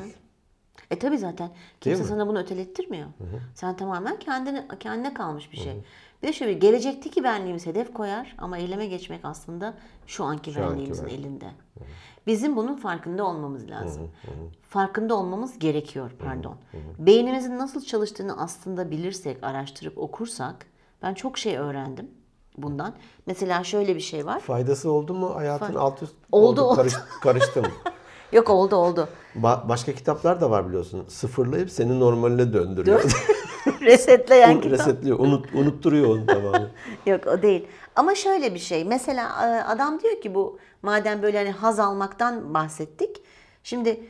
E tabi zaten kimse mi? sana bunu ötelettirmiyor. Sen tamamen kendine, kendine kalmış bir şey. Bir de şöyle gelecekteki benliğimiz hedef koyar ama eyleme geçmek aslında şu anki anki benliğimizin benlik. elinde. Bizim bunun farkında olmamız lazım. Farkında olmamız gerekiyor pardon. Beynimizin nasıl çalıştığını aslında bilirsek, araştırıp okursak ben çok şey öğrendim bundan. Mesela şöyle bir şey var. Faydası oldu mu hayatın alt üst Oldu, oldu. karış- karıştı mı? Yok oldu oldu. Ba- başka kitaplar da var biliyorsun. Sıfırlayıp seni normaline döndürüyor. Resetleyen kitap. Resetliyor. Unut, unutturuyor onu tamamen. Yok o değil. Ama şöyle bir şey. Mesela e, adam diyor ki bu madem böyle hani haz almaktan bahsettik. Şimdi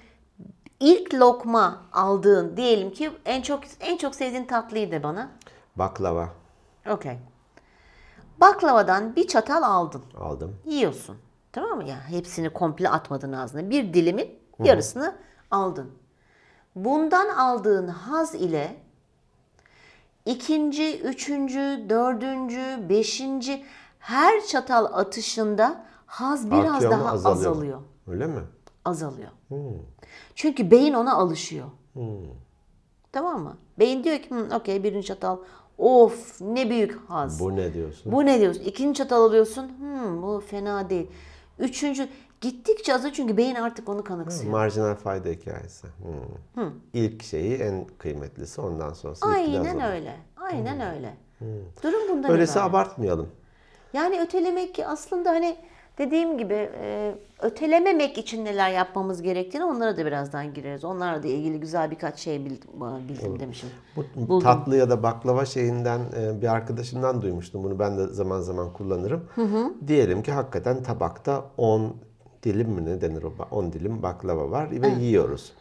ilk lokma aldığın diyelim ki en çok en çok sevdiğin tatlıyı de bana. Baklava Okey. Baklavadan bir çatal aldın. aldım. Yiyorsun. Tamam mı? Ya hepsini komple atmadın ağzına. Bir dilimin yarısını aldın. Bundan aldığın haz ile ikinci, üçüncü, dördüncü, beşinci her çatal atışında haz biraz Artıyor mu, daha azalıyor mu? azalıyor. Öyle mi? Azalıyor. Çünkü beyin ona alışıyor. Tamam mı? Beyin diyor ki "Hı, okey birinci çatal of ne büyük haz. Bu ne diyorsun? Bu ne diyorsun? İkinci çatal alıyorsun. Hmm, bu fena değil. Üçüncü gittikçe azalıyor çünkü beyin artık onu kanıksıyor. Marjinal fayda hikayesi. Hmm. İlk şeyi en kıymetlisi ondan sonrası. Aynen öyle. Aynen Hmm. öyle. Durum bundan Öylesi ibaret. abartmayalım. Yani ötelemek ki aslında hani Dediğim gibi e, ötelememek için neler yapmamız gerektiğini onlara da birazdan gireriz. Onlarla da ilgili güzel birkaç şey bildim, bildim demişim. Bu Buldum. tatlı ya da baklava şeyinden e, bir arkadaşımdan duymuştum. Bunu ben de zaman zaman kullanırım. Diyelim ki hakikaten tabakta 10 dilim mi ne denir o? ba- 10 dilim baklava var ve yiyoruz.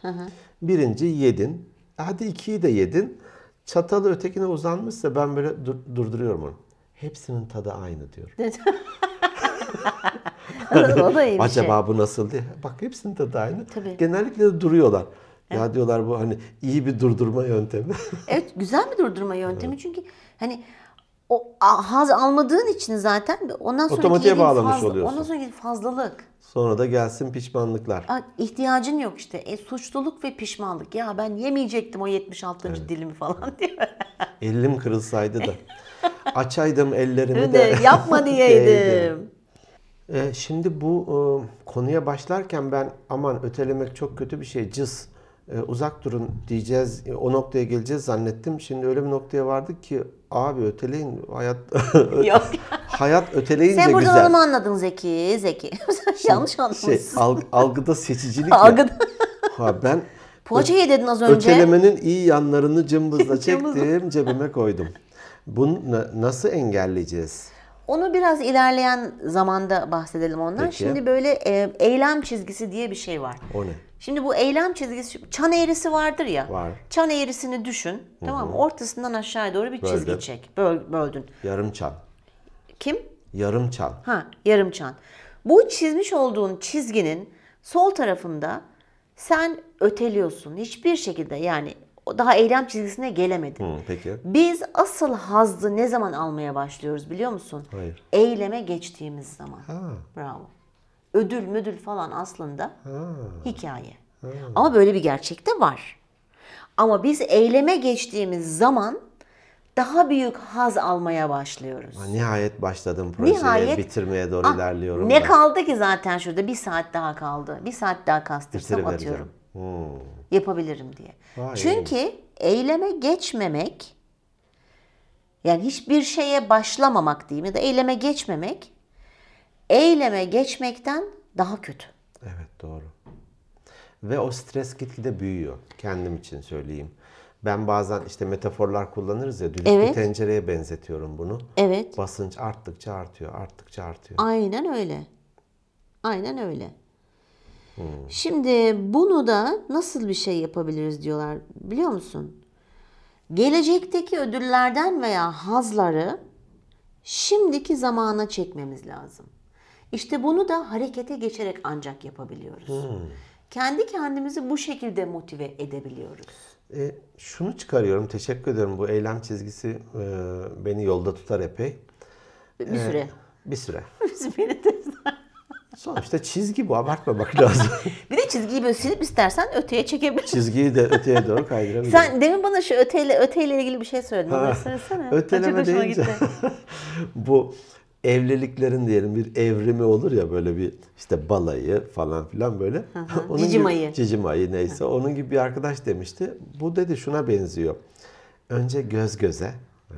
Birinci yedin. E, Hadi ikiyi de yedin. Çatalı ötekine uzanmışsa ben böyle dur- durduruyorum onu. Hepsinin tadı aynı diyor. o da iyi bir şey. Acaba bu nasıl diye. Bak hepsinin tadı aynı. Tabii. Genellikle de duruyorlar. Ya diyorlar bu hani iyi bir durdurma yöntemi. şey. Evet güzel bir durdurma yöntemi çünkü hani o a- haz almadığın için zaten ondan sonra Otomatiğe bağlamış oluyorsun. Ondan sonra fazlalık. Sonra da gelsin pişmanlıklar. Aa, ihtiyacın yok işte. E, suçluluk ve pişmanlık. Ya ben yemeyecektim o 76. dilimi falan diye. Elim kırılsaydı da. Açaydım ellerimi Bir de. de yapma diyeydim. Ee, şimdi bu e, konuya başlarken ben aman ötelemek çok kötü bir şey cız e, uzak durun diyeceğiz e, o noktaya geleceğiz zannettim. Şimdi öyle bir noktaya vardık ki abi öteleyin hayat Yok. hayat öteleyince Sen buradan güzel. onu mu anladın Zeki? Zeki. Yanlış anlamışsın. şey alg- algıda seçicilik ya. Algıda- Ha, ben Poğaça ye dedin az önce. Ötelemenin iyi yanlarını cımbızla Cımbızla. çektim, cebime koydum. Bunu na- nasıl engelleyeceğiz? Onu biraz ilerleyen zamanda bahsedelim ondan. Peki. Şimdi böyle e, eylem çizgisi diye bir şey var. O ne? Şimdi bu eylem çizgisi çan eğrisi vardır ya. Var. Çan eğrisini düşün. Tamam mı? Ortasından aşağıya doğru bir Böldüm. çizgi çek. Böl, böldün. Yarım çan. Kim? Yarım çan. Ha, yarım çan. Bu çizmiş olduğun çizginin sol tarafında sen öteliyorsun. Hiçbir şekilde yani o daha eylem çizgisine gelemedin. Hı, peki. Biz asıl hazzı ne zaman almaya başlıyoruz biliyor musun? Hayır. Eyleme geçtiğimiz zaman. Ha, Bravo. Ödül müdül falan aslında ha. hikaye. Ama böyle bir gerçek de var. Ama biz eyleme geçtiğimiz zaman daha büyük haz almaya başlıyoruz. Ha, Nihayet başladım projeye, Nihayet- bitirmeye doğru Ah, ilerliyorum. Ne da. kaldı ki zaten şurada bir saat daha kaldı. Bir saat daha kastırsam Bitirivereceğim. atıyorum. Hı, Yapabilirim diye. Vay. Çünkü eyleme geçmemek yani hiçbir şeye başlamamak diyeyim ya da eyleme geçmemek eyleme geçmekten daha kötü. Evet doğru. Ve o stres gitgide büyüyor. Kendim için söyleyeyim. Ben bazen işte metaforlar kullanırız ya. Düdüklü Evet. tencereye benzetiyorum bunu. Evet. Basınç arttıkça artıyor, arttıkça artıyor. Aynen öyle. Aynen öyle. Şimdi bunu da nasıl bir şey yapabiliriz diyorlar biliyor musun? Gelecekteki ödüllerden veya hazları şimdiki zamana çekmemiz lazım. İşte bunu da harekete geçerek ancak yapabiliyoruz. Kendi kendimizi bu şekilde motive edebiliyoruz. E, şunu çıkarıyorum. Teşekkür ederim. Bu eylem çizgisi e, beni yolda tutar epey. Bir süre. Bir süre. Beni de- Sonuçta çizgi bu. Abartmamak lazım. bir de çizgiyi böyle silip istersen öteye çekebilirsin. Çizgiyi de öteye doğru kaydırabilirim. Sen demin bana şu öteyle öteyle ilgili bir şey söyledin. Onu söylesene. Ben çok Öteleme hoşuma deyince gitti. bu evliliklerin diyelim bir evrimi olur ya böyle bir işte balayı falan filan böyle. Cicim gibi- ayı. Cicim ayı neyse. Onun gibi bir arkadaş demişti. Bu dedi şuna benziyor. Önce göz göze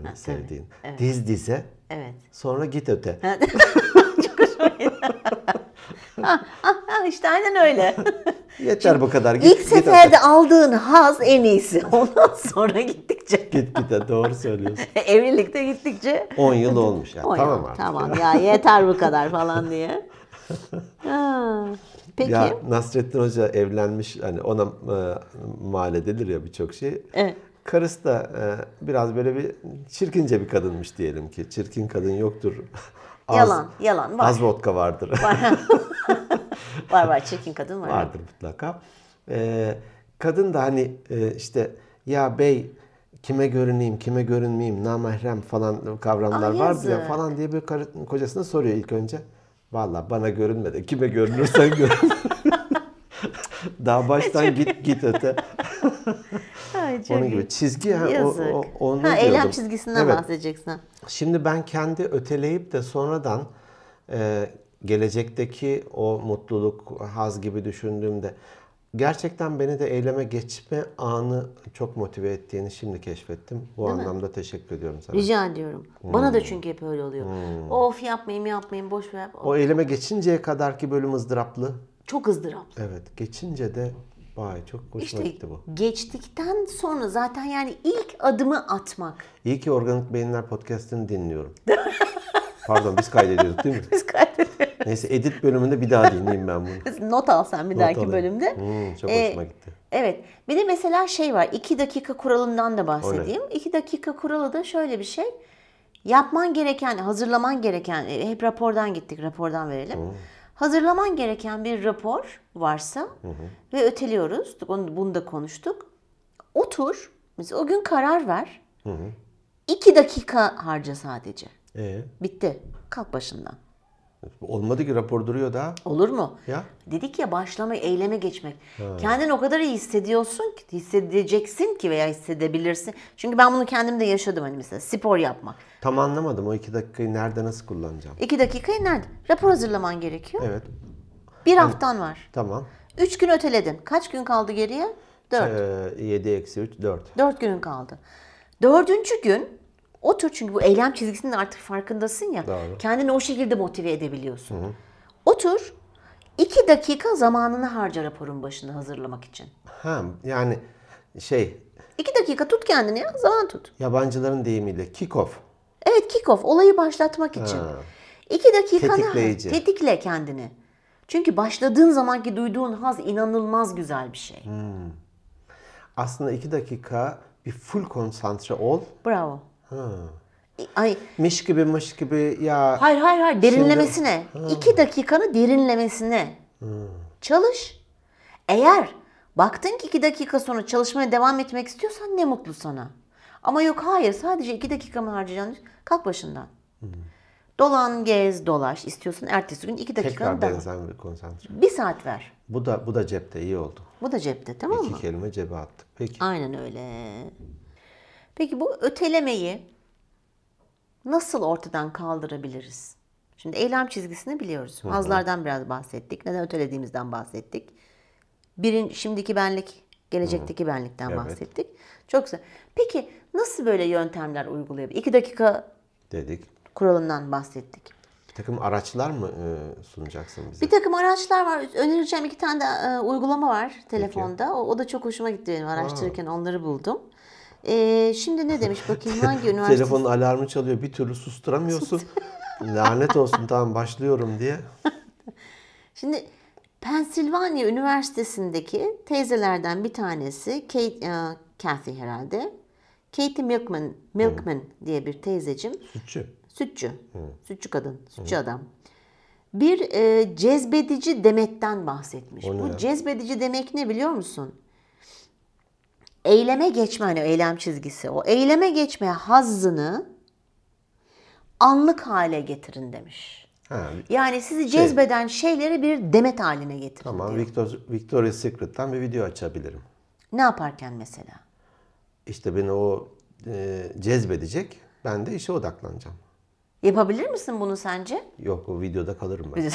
hani sevdiğin. Diz dize. Evet. Sonra git öte. Ha, Ah, işte aynen öyle. Yeter bu kadar. Git, İlk git seferde aldığın haz en iyisi. Ondan sonra gittikçe öte. Git git. Doğru söylüyorsun. evlilikte gittikçe 10 yıl olmuş. ya. "O ya, tamam artık. Tamam ya yeter bu kadar falan diye. Ha, Peki. Ya Nasrettin Hoca evlenmiş hani ona e, mal edilir ya birçok şey. Evet. Karısı da e, biraz böyle bir çirkince bir kadınmış diyelim ki. Çirkin kadın yoktur. Az- Yalan, yalan var. Az vodka vardır. Var var çirkin kadın var. vardır mutlaka. E, kadın da hani e, işte ya bey kime görüneyim, kime görünmeyeyim, namahrem falan kavramlar Ay, vardır ya yazık. falan diye bir karı, kocasına soruyor ilk önce. Valla bana görünme de kime görünürsen görün. Daha baştan git git öte. Ay, çok Onun iyi. gibi çizgi ha, o, Yazık. o, onu ha, eylem diyordum. çizgisinden Evet. bahsedeceksin. Şimdi ben kendi öteleyip de sonradan e, gelecekteki o mutluluk, haz gibi düşündüğümde Gerçekten beni de eyleme geçme anı çok motive ettiğini şimdi keşfettim. Bu anlamda teşekkür ediyorum sana. Rica ediyorum. Bana Hmm. da çünkü hep öyle oluyor. Of yapmayayım yapmayayım boş ver. O eyleme geçinceye kadarki bölüm ızdıraplı. Çok ızdırap. Evet, geçince de vay çok hoşuma gitti bu. Geçtikten sonra zaten yani ilk adımı atmak. İyi ki Organik Beyinler podcast'ini dinliyorum. Pardon biz kaydediyorduk değil mi? Biz kaydediyoruz. Neyse edit bölümünde bir daha dinleyeyim ben bunu. Not alsam bir dahaki alayım. bölümde. Hmm, çok Ee, hoşuma gitti. Evet. Bir de mesela şey var. 2 dakika kuralından da bahsedeyim. 2 dakika kuralı da şöyle bir şey. Yapman gereken, hazırlaman gereken, e, hep rapordan gittik, rapordan verelim. Hazırlaman gereken bir rapor varsa ve öteliyoruz. Onu, bunu da konuştuk. Otur, mesela o gün karar ver. 2 dakika harca sadece. Ee, Bitti. Kalk başından. olmadı ki rapor duruyor daha. Olur mu? Ya Dedik ya başlama eyleme geçmek. Kendini o kadar iyi hissediyorsun ki hissedeceksin ki veya hissedebilirsin. Çünkü ben bunu kendim de yaşadım hani mesela spor yapmak. tam anlamadım o iki dakikayı nerede nasıl kullanacağım. İki dakikayı nerede? Rapor hazırlaman gerekiyor. Evet Bir haftan var. tamam. Üç gün öteledin. Kaç gün kaldı geriye? Dört. Ee, 7 eksi 3 4. Dört günün kaldı. Dördüncü gün otur çünkü bu eylem çizgisinin artık farkındasın ya. Doğru. Kendini o şekilde motive edebiliyorsun. Otur. iki dakika zamanını harca raporun başında hazırlamak için. Ha yani şey İki dakika tut kendini ya. Zaman tut. yabancıların deyimiyle kick off. Evet kick-off. Olayı başlatmak için. İki dakikanı Tetikleyici. tetikle kendini. Çünkü başladığın zamanki duyduğun haz inanılmaz güzel bir şey. Aslında 2 dakika bir full konsantre ol. Bravo. İ- Ay, Miş gibi mış gibi ya hayır hayır hayır derinlemesine. İki dakikanı derinlemesine. Çalış. Eğer baktın ki iki dakika sonra çalışmaya devam etmek istiyorsan ne mutlu sana. Ama yok hayır sadece iki dakikamı harcayacaksın. Kalk başından. Dolan, gez, dolaş. İstiyorsan ertesi gün iki dakikanı tekrar daha. benzer bir konsantre. Bir saat ver. Bu da bu da cepte iyi oldu. Bu da cepte tamam mı? İki kelime cebe attık. Peki. Aynen öyle. Peki bu ötelemeyi nasıl ortadan kaldırabiliriz? Şimdi eylem çizgisini biliyoruz. Hazlardan biraz bahsettik. Neden ötelediğimizden bahsettik. Birin şimdiki benlik, gelecekteki benlikten Evet. bahsettik. Çok güzel. Peki nasıl böyle yöntemler uygulayabilir? İki dakika Dedik. kuralından bahsettik. Bir takım araçlar mı e, sunacaksın bize? Bir takım araçlar var. Önereceğim iki tane de e, uygulama var telefonda. O, o da çok hoşuma gitti benim araştırırken onları buldum. E, şimdi ne demiş bakayım hangi üniversite? Telefonun alarmı çalıyor. Bir türlü susturamıyorsun. Lanet olsun tamam başlıyorum diye. Şimdi Pensilvanya Üniversitesi'ndeki teyzelerden bir tanesi Kate, e, Kathy herhalde. Katie Milkman, Milkman diye bir teyzecim. Sütçü. Sütçü. Sütçü kadın. Sütçü adam. Bir e, cezbedici demetten bahsetmiş. O ne Bu ya? cezbedici demek ne biliyor musun? Eyleme geçme hani eylem çizgisi. O eyleme geçme hazzını anlık hale getirin demiş. Ha, Yani sizi cezbeden şeyleri bir demet haline getirin. Şey- tamam Victor, Victoria's Secret'tan bir video açabilirim. Ne yaparken mesela? İşte beni o e, cezbedecek. Ben de işe odaklanacağım. Yapabilir misin bunu sence? Yok o videoda kalırım ben.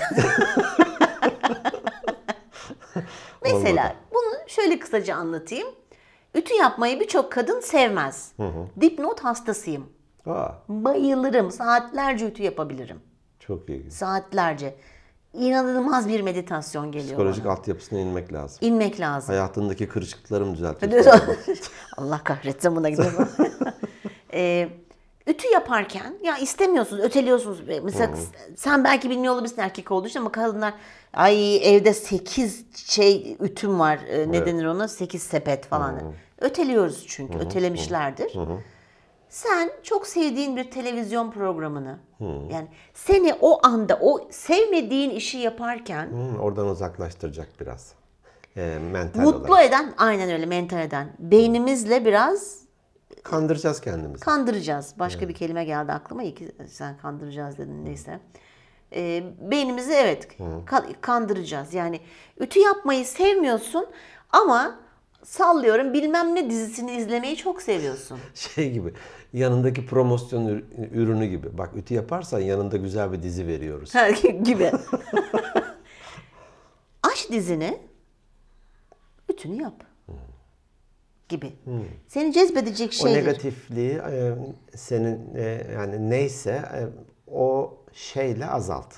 Mesela Olmadı. bunu şöyle kısaca anlatayım. Ütü yapmayı birçok kadın sevmez. Dipnot hastasıyım. Aa, Bayılırım. Saatlerce ütü yapabilirim. çok iyi. Saatlerce. İnanılmaz bir meditasyon geliyor Psikolojik altyapısına inmek lazım. bana. İnmek lazım. Hayatındaki kırışıklıklarımı düzeltiyorsun. Allah kahretsin buna gidiyorum. Ee, ütü yaparken ya istemiyorsunuz, öteliyorsunuz. Mesela sen belki bilmiyor olabilirsin erkek olduğu için ama kadınlar ay evde 8 şey ütüm var. Ee, Ne denir ona? 8 sepet falan. Öteliyoruz çünkü. Ötelemişlerdir. Sen çok sevdiğin bir televizyon programını yani seni o anda o sevmediğin işi yaparken Hmm, oradan uzaklaştıracak biraz. E, mental mutlu olarak. eden aynen öyle mental eden beynimizle biraz Kandıracağız kendimizi. Kandıracağız. Başka bir kelime geldi aklıma. İyi ki sen kandıracağız dedin neyse. Ee, beynimizi evet ka- kandıracağız. Yani ütü yapmayı sevmiyorsun ama sallıyorum bilmem ne dizisini izlemeyi çok seviyorsun. şey gibi yanındaki promosyon ür- ürünü gibi. Bak ütü yaparsan yanında güzel bir dizi veriyoruz. gibi. Aç dizini. kötünü yap. Gibi. Seni cezbedecek O şey. negatifliği e, senin e, yani neyse e, o şeyle azalt.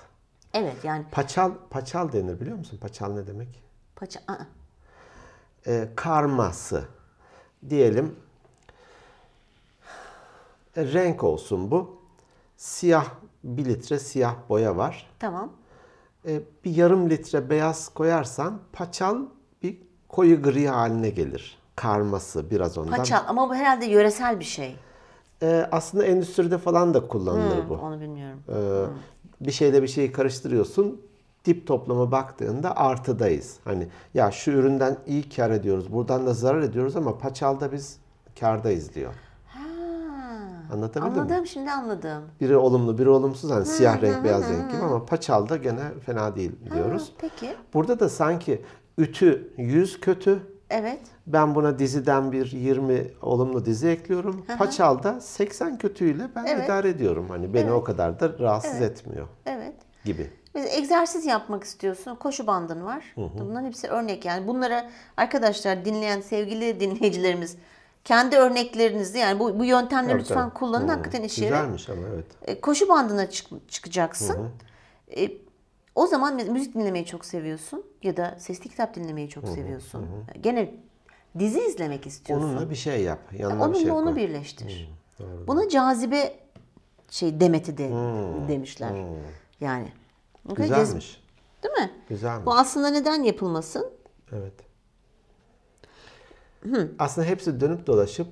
Evet yani Paçal paçal denir biliyor musun? Paçal ne demek? paça Aa, e, karması diyelim e, renk olsun bu. Siyah bir litre siyah boya var. tamam. E, bir yarım litre beyaz koyarsan paçal bir koyu gri haline gelir. Karması biraz ondan. Paçal ama bu herhalde yöresel bir şey. E, aslında endüstride falan da kullanılır bu. Onu bilmiyorum. Ee, bir şeyle bir şeyi karıştırıyorsun. Dip toplama baktığında artıdayız. Hani ya şu üründen iyi kar ediyoruz. Buradan da zarar ediyoruz ama paçalda biz kardayız diyor. Ha. Anlatabildim mi? Anladım şimdi anladım. Biri olumlu, biri olumsuz. Hani siyah renk, beyaz renk gibi ama paçalda gene fena değil diyoruz. Ha, peki. Burada da sanki ütü 100 kötü. Evet. Ben buna diziden bir 20 olumlu dizi ekliyorum. Paçalda 80 kötüyle ben Evet. idare ediyorum. Hani beni o kadar da rahatsız etmiyor Evet. gibi. Biz egzersiz yapmak istiyorsun. Koşu bandın var. Bunların hepsi örnek yani. Bunlara arkadaşlar dinleyen sevgili dinleyicilerimiz kendi örneklerinizi yani bu, bu yöntemleri Evet, lütfen evet. kullanın. Hı, Hakikaten işe yarar. Güzelmiş ama evet. E, Koşu bandına çık- çıkacaksın. E, o zaman mes- müzik dinlemeyi çok seviyorsun ya da sesli kitap dinlemeyi çok seviyorsun. Gene dizi izlemek istiyorsun. Onunla bir şey yap. Yanına Onunla bir şey Hmm, onu koy. birleştir. Buna cazibe şey demeti de demişler. Yani. Cez- Hmm, Güzelmiş. Değil mi? Güzelmiş. Bu aslında neden yapılmasın? Evet. Aslında hepsi dönüp dolaşıp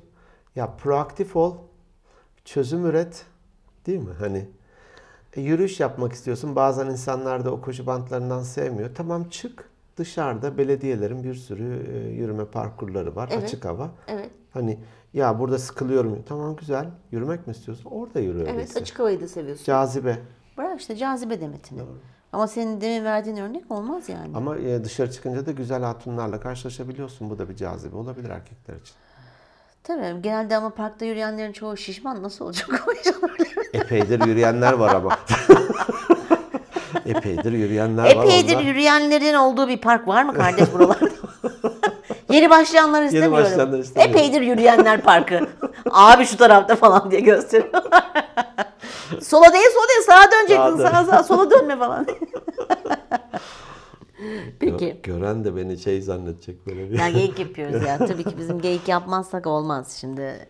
ya proaktif ol, çözüm üret değil mi? Hani e, yürüyüş yapmak istiyorsun. Bazen insanlar da o koşu bantlarından sevmiyor. Tamam çık. Dışarıda belediyelerin bir sürü e, yürüme parkurları var. Evet. Açık hava. Evet. Hani ya burada sıkılıyorum. Tamam güzel. Yürümek mi istiyorsun? Orada yürü Evet, öyleyse. açık havayı da seviyorsun. Cazibe. Bırak işte cazibe demetini. Ama senin demin verdiğin örnek olmaz yani. Ama e, dışarı çıkınca da güzel hatunlarla karşılaşabiliyorsun. Bu da bir cazibe olabilir erkekler için. Tabii genelde ama parkta yürüyenlerin çoğu şişman nasıl olacak o yüzden öyle. Epeydir yürüyenler var ama. Epeydir yürüyenler var. Epeydir onlar. yürüyenlerin olduğu bir park var mı kardeş buralarda? Yeni başlayanlar istemiyorum. başlayanlar istemiyorum. Epeydir yürüyenler parkı. Abi şu tarafta falan diye gösteriyor. sola değil sola değil sağa döneceksin Sağa dön. sağa sağa sola dönme falan. Peki. Gö- Gören de beni şey zannedecek böyle bir. Ya geyik yapıyoruz ya. Tabii ki bizim geyik yapmazsak olmaz şimdi.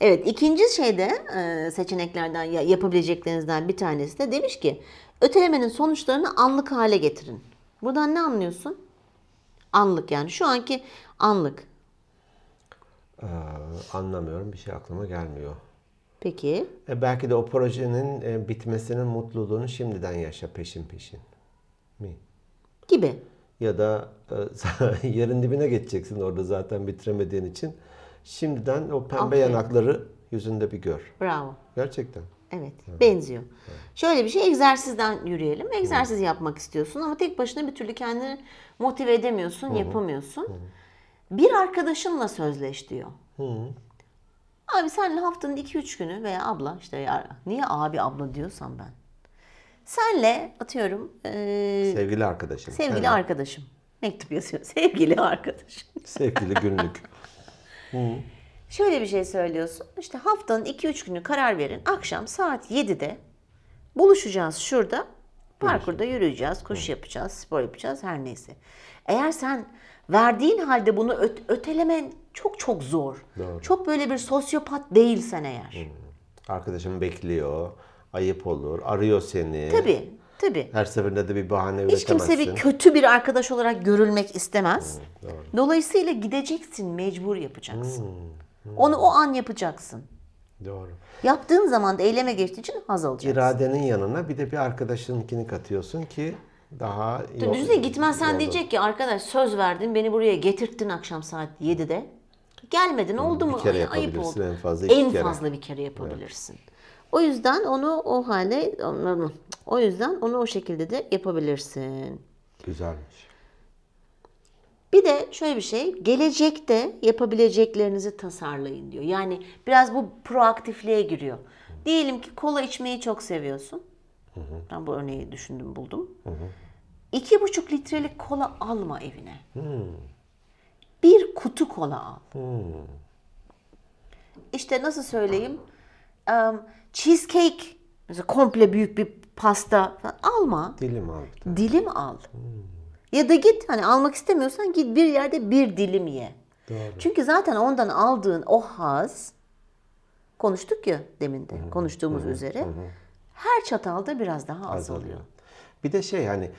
Evet ikinci şeyde e, seçeneklerden ya- yapabileceklerinizden bir tanesi de demiş ki ötelemenin sonuçlarını anlık hale getirin. Buradan ne anlıyorsun? Anlık yani şu anki anlık. Ee, anlamıyorum bir şey aklıma gelmiyor. Peki E, belki de o projenin e, bitmesinin mutluluğunu şimdiden yaşa peşin peşin. Mi? gibi. Ya da e, yerin dibine geçeceksin orada zaten bitiremediğin için. Şimdiden o pembe Aferin. yanakları yüzünde bir gör. Bravo. Gerçekten. Evet, benziyor. Şöyle bir şey egzersizden yürüyelim. Egzersiz yapmak istiyorsun ama tek başına bir türlü kendini motive edemiyorsun, yapamıyorsun. Bir arkadaşınla sözleş diyor. Abi senle haftanın 2-3 günü veya abla işte ya, niye abi abla diyorsam ben. Senle atıyorum eee, Sevgili arkadaşım. sevgili Evet. arkadaşım. Mektup yazıyor. Sevgili arkadaşım. Sevgili günlük. Şöyle bir şey söylüyorsun. İşte haftanın 2-3 günü karar verin. Akşam saat 7'de buluşacağız şurada. Parkurda yürüyeceğiz, koşu yapacağız, spor yapacağız her neyse. Eğer sen verdiğin halde bunu öt- ötelemen çok çok zor. Doğru. Çok böyle bir sosyopat değilsen eğer. Arkadaşım bekliyor. Ayıp olur. Arıyor seni. Tabii, tabii. Her seferinde de bir bahane Hiç üretemezsin. kimse bir kötü bir arkadaş olarak görülmek istemez. doğru. Hmm, Dolayısıyla gideceksin, mecbur yapacaksın. Onu o an yapacaksın. Doğru. Yaptığın zaman da eyleme geçtiği için haz alacaksın. İradenin yanına bir de bir arkadaşınkini katıyorsun ki daha Dü- yol- Düşünsene gitmezsen yolda- diyecek ki arkadaş söz verdin beni buraya getirttin akşam saat 7'de. Gelmedin oldu mu? bir kere Ay- ayıp yapabilirsin, oldu. en fazla iki En kere. fazla bir kere yapabilirsin. O yüzden onu o hale o yüzden onu o şekilde de yapabilirsin. Güzelmiş. Bir de şöyle bir şey, gelecekte yapabileceklerinizi tasarlayın diyor. Yani biraz bu proaktifliğe giriyor. Diyelim ki kola içmeyi çok seviyorsun. Ben bu örneği düşündüm buldum. İki buçuk litrelik kola alma evine. Bir kutu kola al. İşte nasıl söyleyeyim? Em, cheesecake mesela komple büyük bir pasta falan alma. Dilim al. Dilim al. Ya da git hani almak istemiyorsan git bir yerde bir dilim ye. Doğru. Çünkü zaten ondan aldığın o haz konuştuk ya demin de konuştuğumuz üzere her çatalda biraz daha az oluyor. Bir de şey hani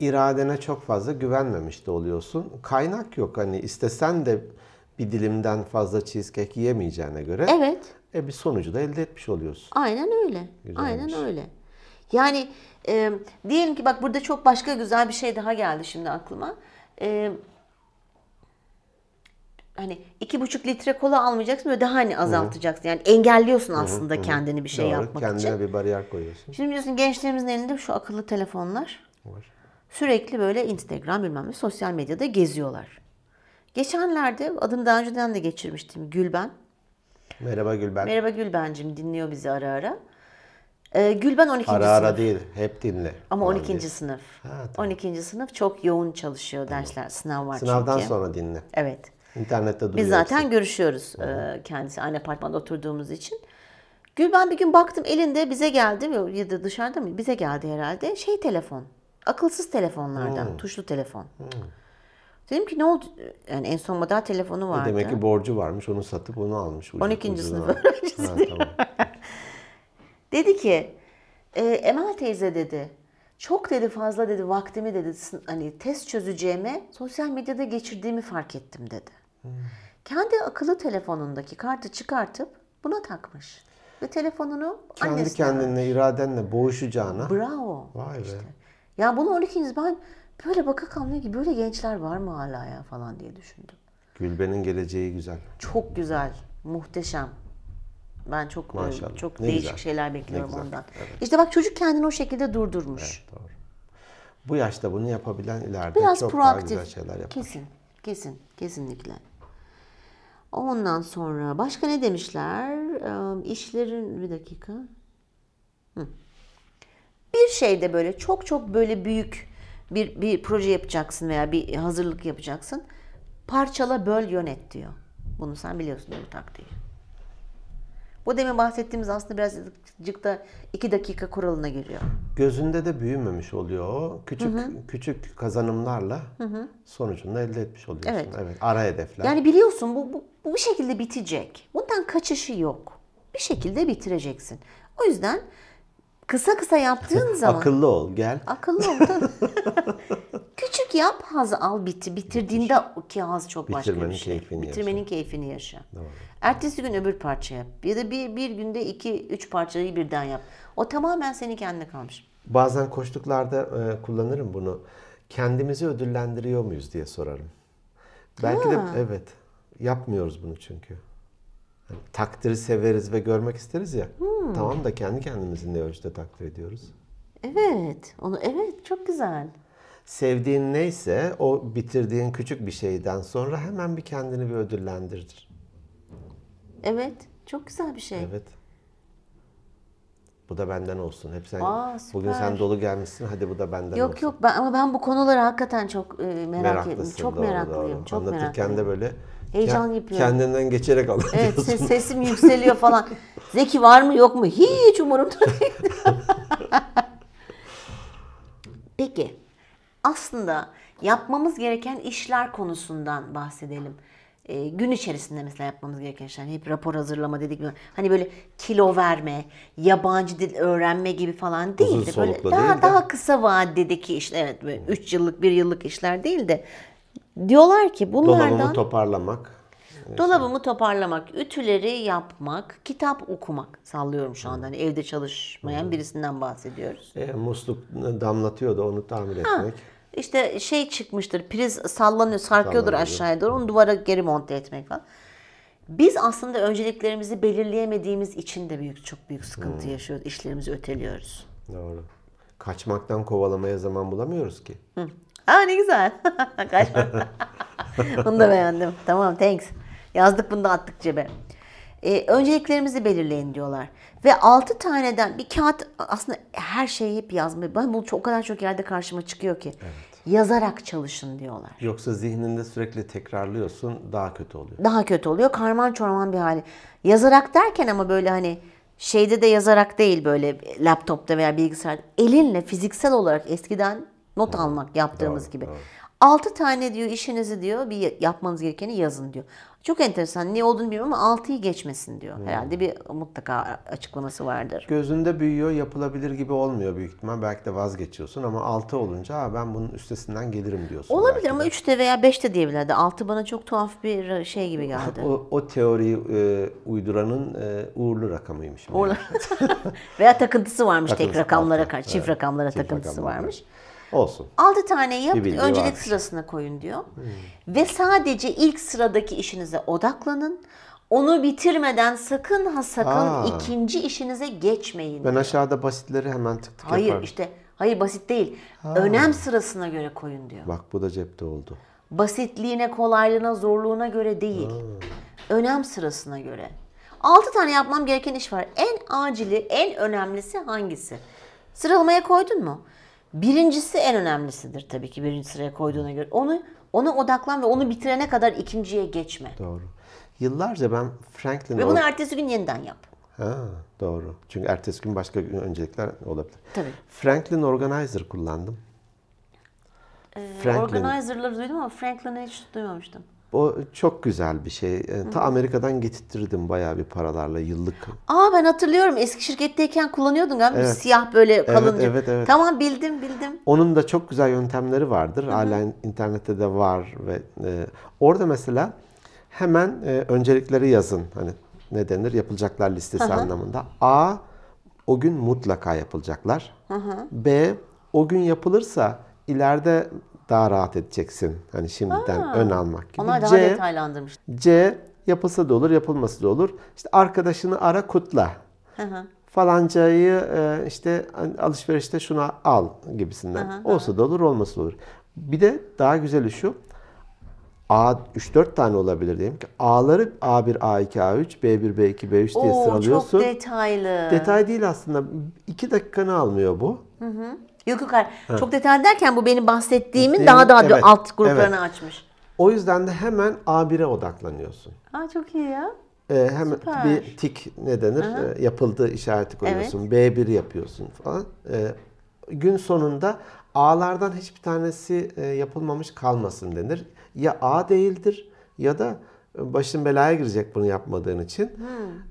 iradene çok fazla güvenmemiş de oluyorsun. Kaynak yok hani istesen de bir dilimden fazla cheesecake yiyemeyeceğine göre Evet. e bir sonucu da elde etmiş oluyorsun. Aynen öyle. Aynen öyle. Yani e, diyelim ki bak burada çok başka güzel bir şey daha geldi şimdi aklıma. E, hani iki buçuk litre kola almayacaksın ve daha hani azaltacaksın. Yani engelliyorsun aslında kendini bir şey Doğru. yapmak Kendine için. bir bariyer koyuyorsun. Şimdi biliyorsun gençlerimizin elinde şu akıllı telefonlar. Var. Sürekli böyle Instagram bilmem ne sosyal medyada geziyorlar. Geçenlerde adını daha önceden de geçirmiştim Gülben. Merhaba Gülben. Merhaba Gülben'cim dinliyor bizi ara ara. Ee, Gülben 12. ara sınıf ara değil, hep dinle. ama falan 12. diye. sınıf. Ha, 12. sınıf çok yoğun çalışıyor dersler, sınav var Sınavdan çünkü. sonra dinle. Evet. İnternette duruyor. Biz zaten görüşüyoruz e, kendisi aynı apartmanda oturduğumuz için. Gülben bir gün baktım elinde bize geldi mi ya da dışarıda mı bize geldi herhalde şey telefon. Akılsız telefonlardan, tuşlu telefon. Dedim ki ne oldu? Yani en son model telefonu vardı. E, Demek ki borcu varmış, onu satıp onu almış. ucuz- 12. ucuzuna sınıf almış. öğrencisi. Ha, tamam. Dedi ki e, Emel teyze dedi çok dedi fazla dedi vaktimi dedi sın- hani test çözeceğime sosyal medyada geçirdiğimi fark ettim dedi. Hmm. Kendi akıllı telefonundaki kartı çıkartıp buna takmış. Ve telefonunu Kendi annesine kendinle, iradenle boğuşacağına. Bravo. Vay be. Ya bunu 12. ben böyle baka kalmıyor ki böyle gençler var mı hala ya falan diye düşündüm. Gülben'in geleceği güzel. Çok güzel, muhteşem. Ben çok e, Maşallah. çok Ne değişik güzel. şeyler bekliyorum güzel. ondan. İşte bak çocuk kendini o şekilde durdurmuş. Doğru. Bu yaşta bunu yapabilen ileride Biraz çok proaktif. daha güzel şeyler yapar. Kesin, kesin, kesinlikle. Ondan sonra başka ne demişler? Ee, İşlerin bir dakika. Hı. Bir şeyde böyle çok çok böyle büyük bir bir proje yapacaksın veya bir hazırlık yapacaksın. Parçala, böl, yönet diyor. Bunu sen biliyorsun bu taktiği. Bu demin bahsettiğimiz aslında birazcık da iki dakika kuralına giriyor. Gözünde de büyümemiş oluyor o. Küçük küçük kazanımlarla sonucunu elde etmiş oluyorsun. Evet. Ara hedefler. Yani biliyorsun bu, bu, bu bir şekilde bitecek. Bundan kaçışı yok. Bir şekilde bitireceksin. O yüzden kısa kısa yaptığın zaman Akıllı ol, gel. akıllı ol tabii. Küçük yap, haz al, bitir. Bitirdiğinde o ki haz çok başka Bitirmenin bir şey. keyfini yaşa. Bitirmenin keyfini yaşa. Ertesi gün öbür parça yap. Ya da bir, bir günde iki, üç parçayı birden yap. O tamamen senin kendine kalmış. Bazen koştuklarda e, kullanırım bunu. Kendimizi ödüllendiriyor muyuz diye sorarım. Belki de evet. Yapmıyoruz bunu çünkü. Hani takdiri severiz ve görmek isteriz ya. Hmm. Tamam da kendi kendimizi ne ölçüde takdir ediyoruz? Evet, onu evet çok güzel. Sevdiğin neyse o bitirdiğin küçük bir şeyden sonra hemen bir kendini bir ödüllendirdir. Evet, çok güzel bir şey. Evet. Bu da benden olsun. Hep sen Aa, bugün sen süper. dolu gelmişsin. Hadi bu da benden olsun. Yok yok ben ama ben bu konulara hakikaten çok e, merak ettim. Meraklısın, Çok doğru, meraklıyım. doğru. Çok Anlatırken meraklıyım. de böyle Heyecan ke- yapıyorum. Kendinden geçerek anlatıyorsun. Evet ses- sesim yükseliyor falan. Zeki var mı yok mu? Hiç umurumda değil. Peki aslında yapmamız gereken işler konusundan bahsedelim. Ee, gün içerisinde mesela yapmamız gereken işler. Hep rapor hazırlama dedik. Hani böyle kilo verme, yabancı dil öğrenme gibi falan değil Uzun de böyle soluklu daha değil de. daha kısa vadedeki işler. Evet böyle 3 yıllık 1 yıllık işler değil de diyorlar ki bunlardan Dolabımı toparlamak. Dolabımı toparlamak, ütüleri yapmak, kitap okumak. Sallıyorum şu anda. Hani evde çalışmayan birisinden bahsediyoruz. E, musluk damlatıyor da onu tamir etmek. İşte şey çıkmıştır, priz sallanıyor, sarkıyordur Sallanıyor. aşağıya doğru. Onu duvara geri monte etmek falan. Biz aslında önceliklerimizi belirleyemediğimiz için de büyük çok büyük sıkıntı yaşıyoruz. İşlerimizi öteliyoruz. Doğru. Kaçmaktan kovalamaya zaman bulamıyoruz ki. Ha ne güzel. Kaçma. Bunu da beğendim. Tamam thanks. Yazdık bunu da attık cebe. Ee, önceliklerimizi belirleyin diyorlar. Ve 6 taneden bir kağıt aslında her şeyi hep yazmıyor. Ben bu çok- o kadar çok yerde karşıma çıkıyor ki. yazarak çalışın diyorlar. Yoksa zihninde sürekli tekrarlıyorsun daha kötü oluyor. Daha kötü oluyor. Karman çorman bir hali. Yazarak derken ama böyle hani şeyde de yazarak değil böyle laptopta veya bilgisayarda. Elinle fiziksel olarak eskiden not almak yaptığımız doğru, gibi. doğru. altı 6 tane diyor işinizi diyor bir yapmanız gerekeni yazın diyor. Çok enteresan. Ne olduğunu bilmiyorum ama 6'yı geçmesin Hmm. diyor. Herhalde bir mutlaka açıklaması vardır. Gözünde büyüyor yapılabilir gibi olmuyor büyük ihtimal. Belki de vazgeçiyorsun ama 6 olunca "Aa, ben bunun üstesinden gelirim diyorsun. belki Olabilir de. ama 3'te veya 5'te diyebilirdi. 6 bana çok tuhaf bir şey gibi geldi. O, o teoriyi e, uyduranın e, uğurlu rakamıymış. meğer. veya takıntısı varmış tek Takıntısı, rakamlara altı. karşı, çift Evet, rakamlara çift takıntısı rakamlara. varmış. Olsun. 6 tane yap, Bir bildiği öncelik varmış. sırasına koyun diyor. Ve sadece ilk sıradaki işinize odaklanın. Onu bitirmeden sakın ha sakın Aa. ikinci işinize geçmeyin. Ben aşağıda basitleri hemen tık tık hayır yaparım. işte hayır basit değil. Önem sırasına göre koyun diyor. Bak bu da cepte oldu. Basitliğine, kolaylığına, zorluğuna göre değil. Önem sırasına göre. 6 tane yapmam gereken iş var. En acili, en önemlisi hangisi? Sıralamaya koydun mu? Birincisi en önemlisidir tabii ki birinci sıraya koyduğuna göre. Onu ona odaklan ve onu bitirene kadar ikinciye geçme. Doğru. Yıllarca ben Franklin'e... Ve bunu ertesi gün yeniden yap. Ha, doğru. Çünkü ertesi gün başka gün- öncelikler olabilir. Tabii. Franklin Organizer kullandım. Ee, Organizer'ları duydum ama Franklin'i hiç duymamıştım. O çok güzel bir şey. Ee, Ta Amerika'dan getirttirdim bayağı bir paralarla yıllık. Aa ben hatırlıyorum eski şirketteyken kullanıyordun galiba siyah böyle kalınca. evet, evet. Tamam bildim bildim. Onun da çok güzel yöntemleri vardır. Hala internette de var ve e, orada mesela hemen e, öncelikleri yazın. Hani ne denir? Yapılacaklar listesi anlamında. A o gün mutlaka yapılacaklar. B o gün yapılırsa ileride daha rahat edeceksin. Hani şimdiden ön almak gibi. Onlar daha C, detaylandırmış. C yapılsa da olur, yapılması da olur. İşte arkadaşını ara kutla. Falancayı e, işte alışverişte şuna al gibisinden. Olsa da olur, olmasa da olur. Bir de daha güzeli şu. A 3-4 tane olabilir diyelim ki. A'ları A1, A2, A3, B1, B2, B3 diye Oo, sıralıyorsun. Çok detaylı. Detay değil aslında. 2 dakikanı almıyor bu. Yok yok hayır. Çok detaylı derken bu benim bahsettiğimin Benim- daha daha evet, alt gruplarını açmış. O yüzden de hemen A1'e odaklanıyorsun. Aa çok iyi ya. E, hem Süper. bir tik ne denir? E, yapıldı işareti koyuyorsun. B1 yapıyorsun falan. E, gün sonunda A'lardan hiçbir tanesi e, yapılmamış kalmasın denir. Ya A değildir ya da e, başın belaya girecek bunu yapmadığın için.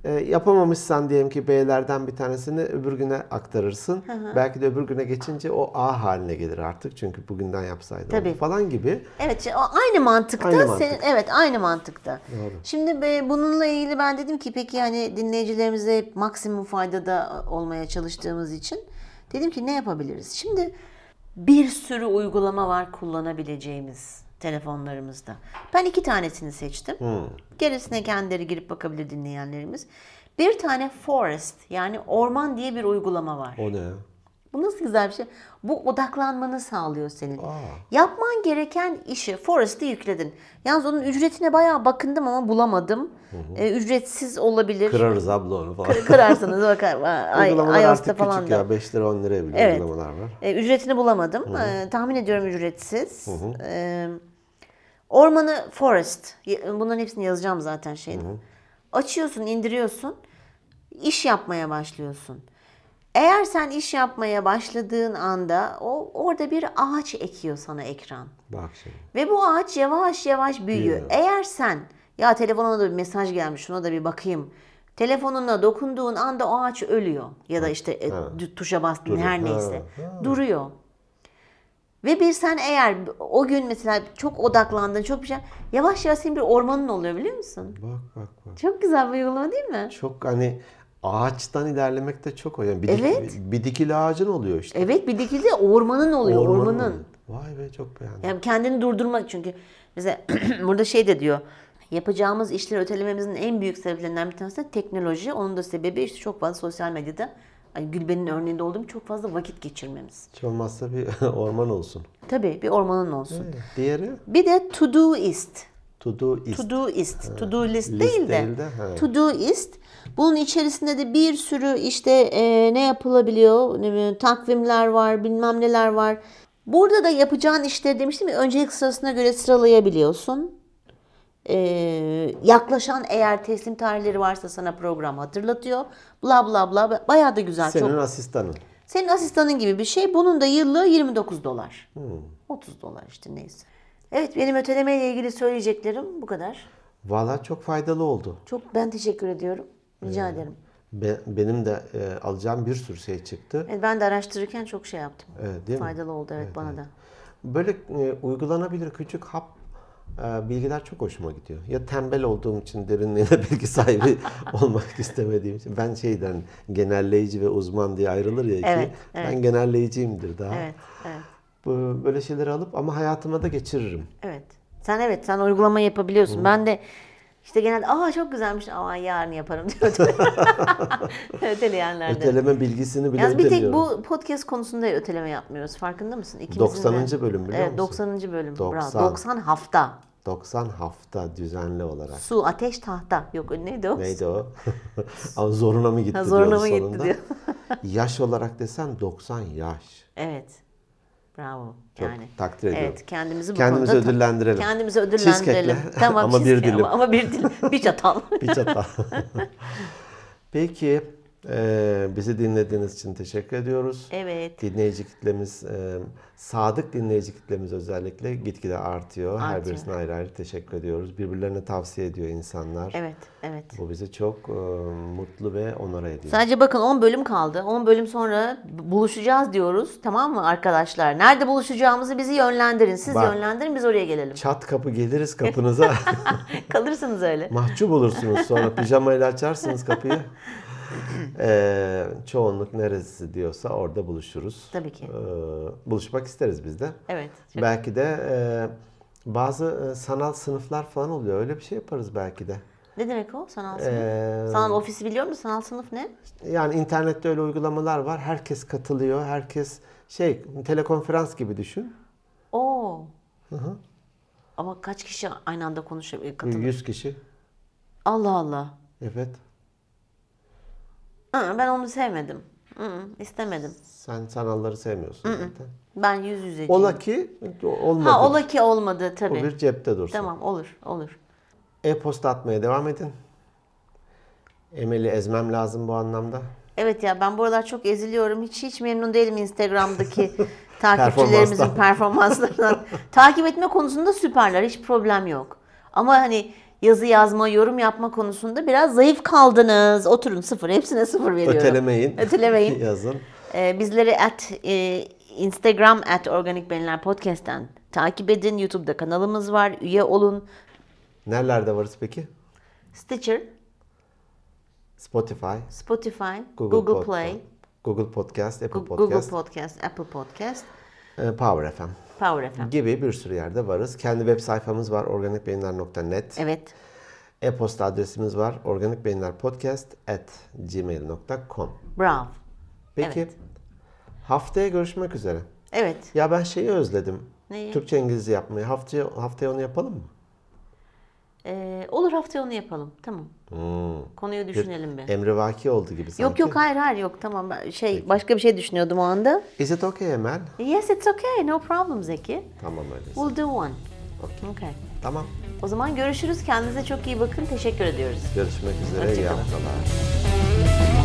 E, yapamamışsan diyelim ki B'lerden bir tanesini öbür güne aktarırsın. Belki de öbür güne geçince o A haline gelir artık. Çünkü bugünden yapsaydın Tabii. falan gibi. Evet şey- o aynı mantıkta. Aynı mantık. senin- evet aynı mantıkta. Şimdi be- bununla ilgili ben dedim ki peki hani dinleyicilerimize hep maksimum faydada olmaya çalıştığımız için dedim ki ne yapabiliriz? Şimdi bir sürü uygulama var kullanabileceğimiz telefonlarımızda. Ben iki tanesini seçtim. Hmm. Gerisine kendileri girip bakabilir dinleyenlerimiz. Bir tane Forest yani orman diye bir uygulama var. O ne ya? Bu nasıl güzel bir şey? Bu odaklanmanı sağlıyor senin. Yapman gereken işi Forest'ı yükledin. Yalnız onun ücretine bayağı bakındım ama bulamadım. Ee, ücretsiz olabilir. Kırarız abla onu falan. Kırarsanız bakar. Ay, Uygulamalar iOS'ta artık falan küçük da. ya. 5 lira 10 liraya bile Evet. uygulamalar var. Ee, ücretini bulamadım. Ee, tahmin ediyorum ücretsiz. Ee, ormanı Forest. Y- Bunların hepsini yazacağım zaten şeyde. Açıyorsun, indiriyorsun. İş yapmaya başlıyorsun. Eğer sen iş yapmaya başladığın anda o orada bir ağaç ekiyor sana ekran. Bak şimdi. Ve bu ağaç yavaş yavaş büyüyor. Büyüyor. Eğer sen ya telefonuma da bir mesaj gelmiş şuna da bir bakayım. Telefonuna dokunduğun anda o ağaç ölüyor. Ya da işte e, d- tuşa bastın her Duruyor. neyse. Duruyor. Ve bir sen eğer o gün mesela çok odaklandın çok bir şey yavaş yavaş senin bir ormanın oluyor biliyor musun? Bak bak bak. Çok güzel bir uygulama değil mi? Çok hani ağaçtan ilerlemek de çok o. Yani bir, dik- Evet. bir dikili ağacın oluyor işte. Evet bir dikilde ormanın oluyor ormanın. Vay be çok beğendim. Yani kendini durdurmak çünkü bize burada şey de diyor. Yapacağımız işleri ötelememizin en büyük sebeplerinden bir tanesi de teknoloji. Onun da sebebi işte çok fazla sosyal medyada hani Gülben'in örneğinde olduğum gibi çok fazla vakit geçirmemiz. Hiç olmazsa bir orman olsun. Tabii bir ormanın olsun. Diğeri Bir de to do ist. to do is. To do ist. To do list, list değil de. değil de, ha. to do ist. Bunun içerisinde de bir sürü işte e, ne yapılabiliyor, ne bileyim, takvimler var, bilmem neler var. Burada da yapacağın işleri demiştim ya öncelik sırasına göre sıralayabiliyorsun. Ee, yaklaşan eğer teslim tarihleri varsa sana program hatırlatıyor. Bla bla bla. Bayağı da güzel. Senin Çok asistanın. senin asistanın gibi bir şey. Bunun da yıllığı 29 dolar. Hmm. 30 dolar işte neyse. Evet benim öteleme ile ilgili söyleyeceklerim bu kadar. Valla çok faydalı oldu. Çok ben teşekkür ediyorum. Rica ederim. Be- benim de e, alacağım bir sürü şey çıktı. Evet, E, ben de araştırırken çok şey yaptım. Evet, değil mi? Faydalı oldu evet, bana da. Böyle e, uygulanabilir küçük hap e, bilgiler çok hoşuma gidiyor. Ya tembel olduğum için derinliğine bilgi sahibi olmak istemediğim için. Ben şeyden genelleyici ve uzman diye ayrılır ya iki. Evet, Ben genelleyiciyimdir daha. Evet, evet. Bu- Böyle şeyleri alıp ama hayatıma da geçiririm. Evet. Sen evet sen uygulama yapabiliyorsun. Ben de işte genelde aa çok güzelmiş ama yarın yaparım diyordum. Öteleyenlerden. Öteleme bilgisini bile Yalnız bir tek ödemiyorum. bu podcast konusunda öteleme yapmıyoruz. Farkında mısın? İkimizin de- 90. bölüm biliyor Evet musun? 90. bölüm. 90. Bravo. 90 hafta. 90 hafta düzenli olarak. Su, ateş, tahta. Yok neydi o? Neydi o? Ama zoruna mı gitti Ha, zoruna diyordu mı gitti sonunda. diyor. yaş olarak desen 90 yaş. Evet. Bravo. Çok yani. takdir ediyorum. Evet kendimizi bu Kendimizi konuda ta- ödüllendirelim. Kendimizi ödüllendirelim. Cheesecake'le. Tamam Ama bir cheesecake dilim. Ama, ama bir dilim. Bir çatal. Bir çatal. Peki eee, bizi dinlediğiniz için teşekkür ediyoruz. evet. Dinleyici kitlemiz, eee, sadık dinleyici kitlemiz özellikle gitgide artıyor. Her Artıyor. birisine ayrı ayrı teşekkür ediyoruz. Birbirlerine tavsiye ediyor insanlar. Evet. Evet. Bu bizi çok eee, mutlu ve onore ediyor. Sadece bakın 10 bölüm kaldı. 10 bölüm sonra buluşacağız diyoruz. Tamam mı arkadaşlar? Nerede buluşacağımızı bizi yönlendirin. Siz Bak. yönlendirin biz oraya gelelim. Çat kapı geliriz kapınıza. Kalırsınız öyle. Mahcup olursunuz sonra pijamayla açarsınız kapıyı. Eee, çoğunluk neresi diyorsa orada buluşuruz. Tabii ki. Eee, buluşmak isteriz biz de. Evet. Belki de eee, bazı e, sanal sınıflar falan oluyor. Öyle bir şey yaparız belki de. Ne demek o? Sanal sınıf. Eee, Sanal ofisi biliyor musun? Sanal sınıf ne? yani internette öyle uygulamalar var. Herkes katılıyor. Herkes şey telekonferans gibi düşün. Oo. Ama kaç kişi aynı anda konuşabiliyor? Katılıyor. 100 kişi. Allah Allah. Evet. Aa, ben onu sevmedim. Hı, istemedim. Sen sanalları sevmiyorsun zaten. Ben yüz yüzeciyim. Ola ki olmadı. ha ola ki olmadı Bu tabii. bir cepte dursun. Tamam olur olur. E-posta atmaya devam edin. Emel'i ezmem lazım bu anlamda. Evet ya ben buralar çok eziliyorum. Hiç hiç memnun değilim Instagram'daki takipçilerimizin performanslarından. Takip etme konusunda süperler. Hiç problem yok. Ama hani yazı yazma, yorum yapma konusunda biraz zayıf kaldınız. Oturun sıfır. Hepsine sıfır veriyorum. Ötelemeyin. Ötelemeyin. Yazın. Ee, bizleri at e, Instagram at Organik Beyinler Podcast'ten takip edin. YouTube'da kanalımız var. Üye olun. Nerelerde varız peki? Stitcher, Spotify, Spotify, Google, Google, Podca- Play, Google Podcast, Apple Google Podcast, Podcast, Apple Podcast, e, Power FM Power FM. gibi bir sürü yerde varız. Kendi web sayfamız var organikbeyinler.net. Evet. E-posta adresimiz var organikbeyinlerpodcast@gmail.com. Bravo. Peki haftaya görüşmek üzere. Evet. Ya ben şeyi özledim. Neyi? Türkçe İngilizce yapmayı. Haftaya haftaya onu yapalım mı? Ee, olur haftaya onu yapalım. Tamam. Hmm. Konuyu düşünelim bir. Emre Vaki oldu gibi sanki. Yok yok hayır hayır yok tamam ben şey başka bir şey düşünüyordum o anda. Is it okay Emel? Yes it's okay no problem Zeki. Tamam öyleyse. We'll do one. Okay. Tamam. O zaman görüşürüz. Kendinize çok iyi bakın. Teşekkür ediyoruz. Görüşmek üzere. İyi Hoşçakalın. haftalar.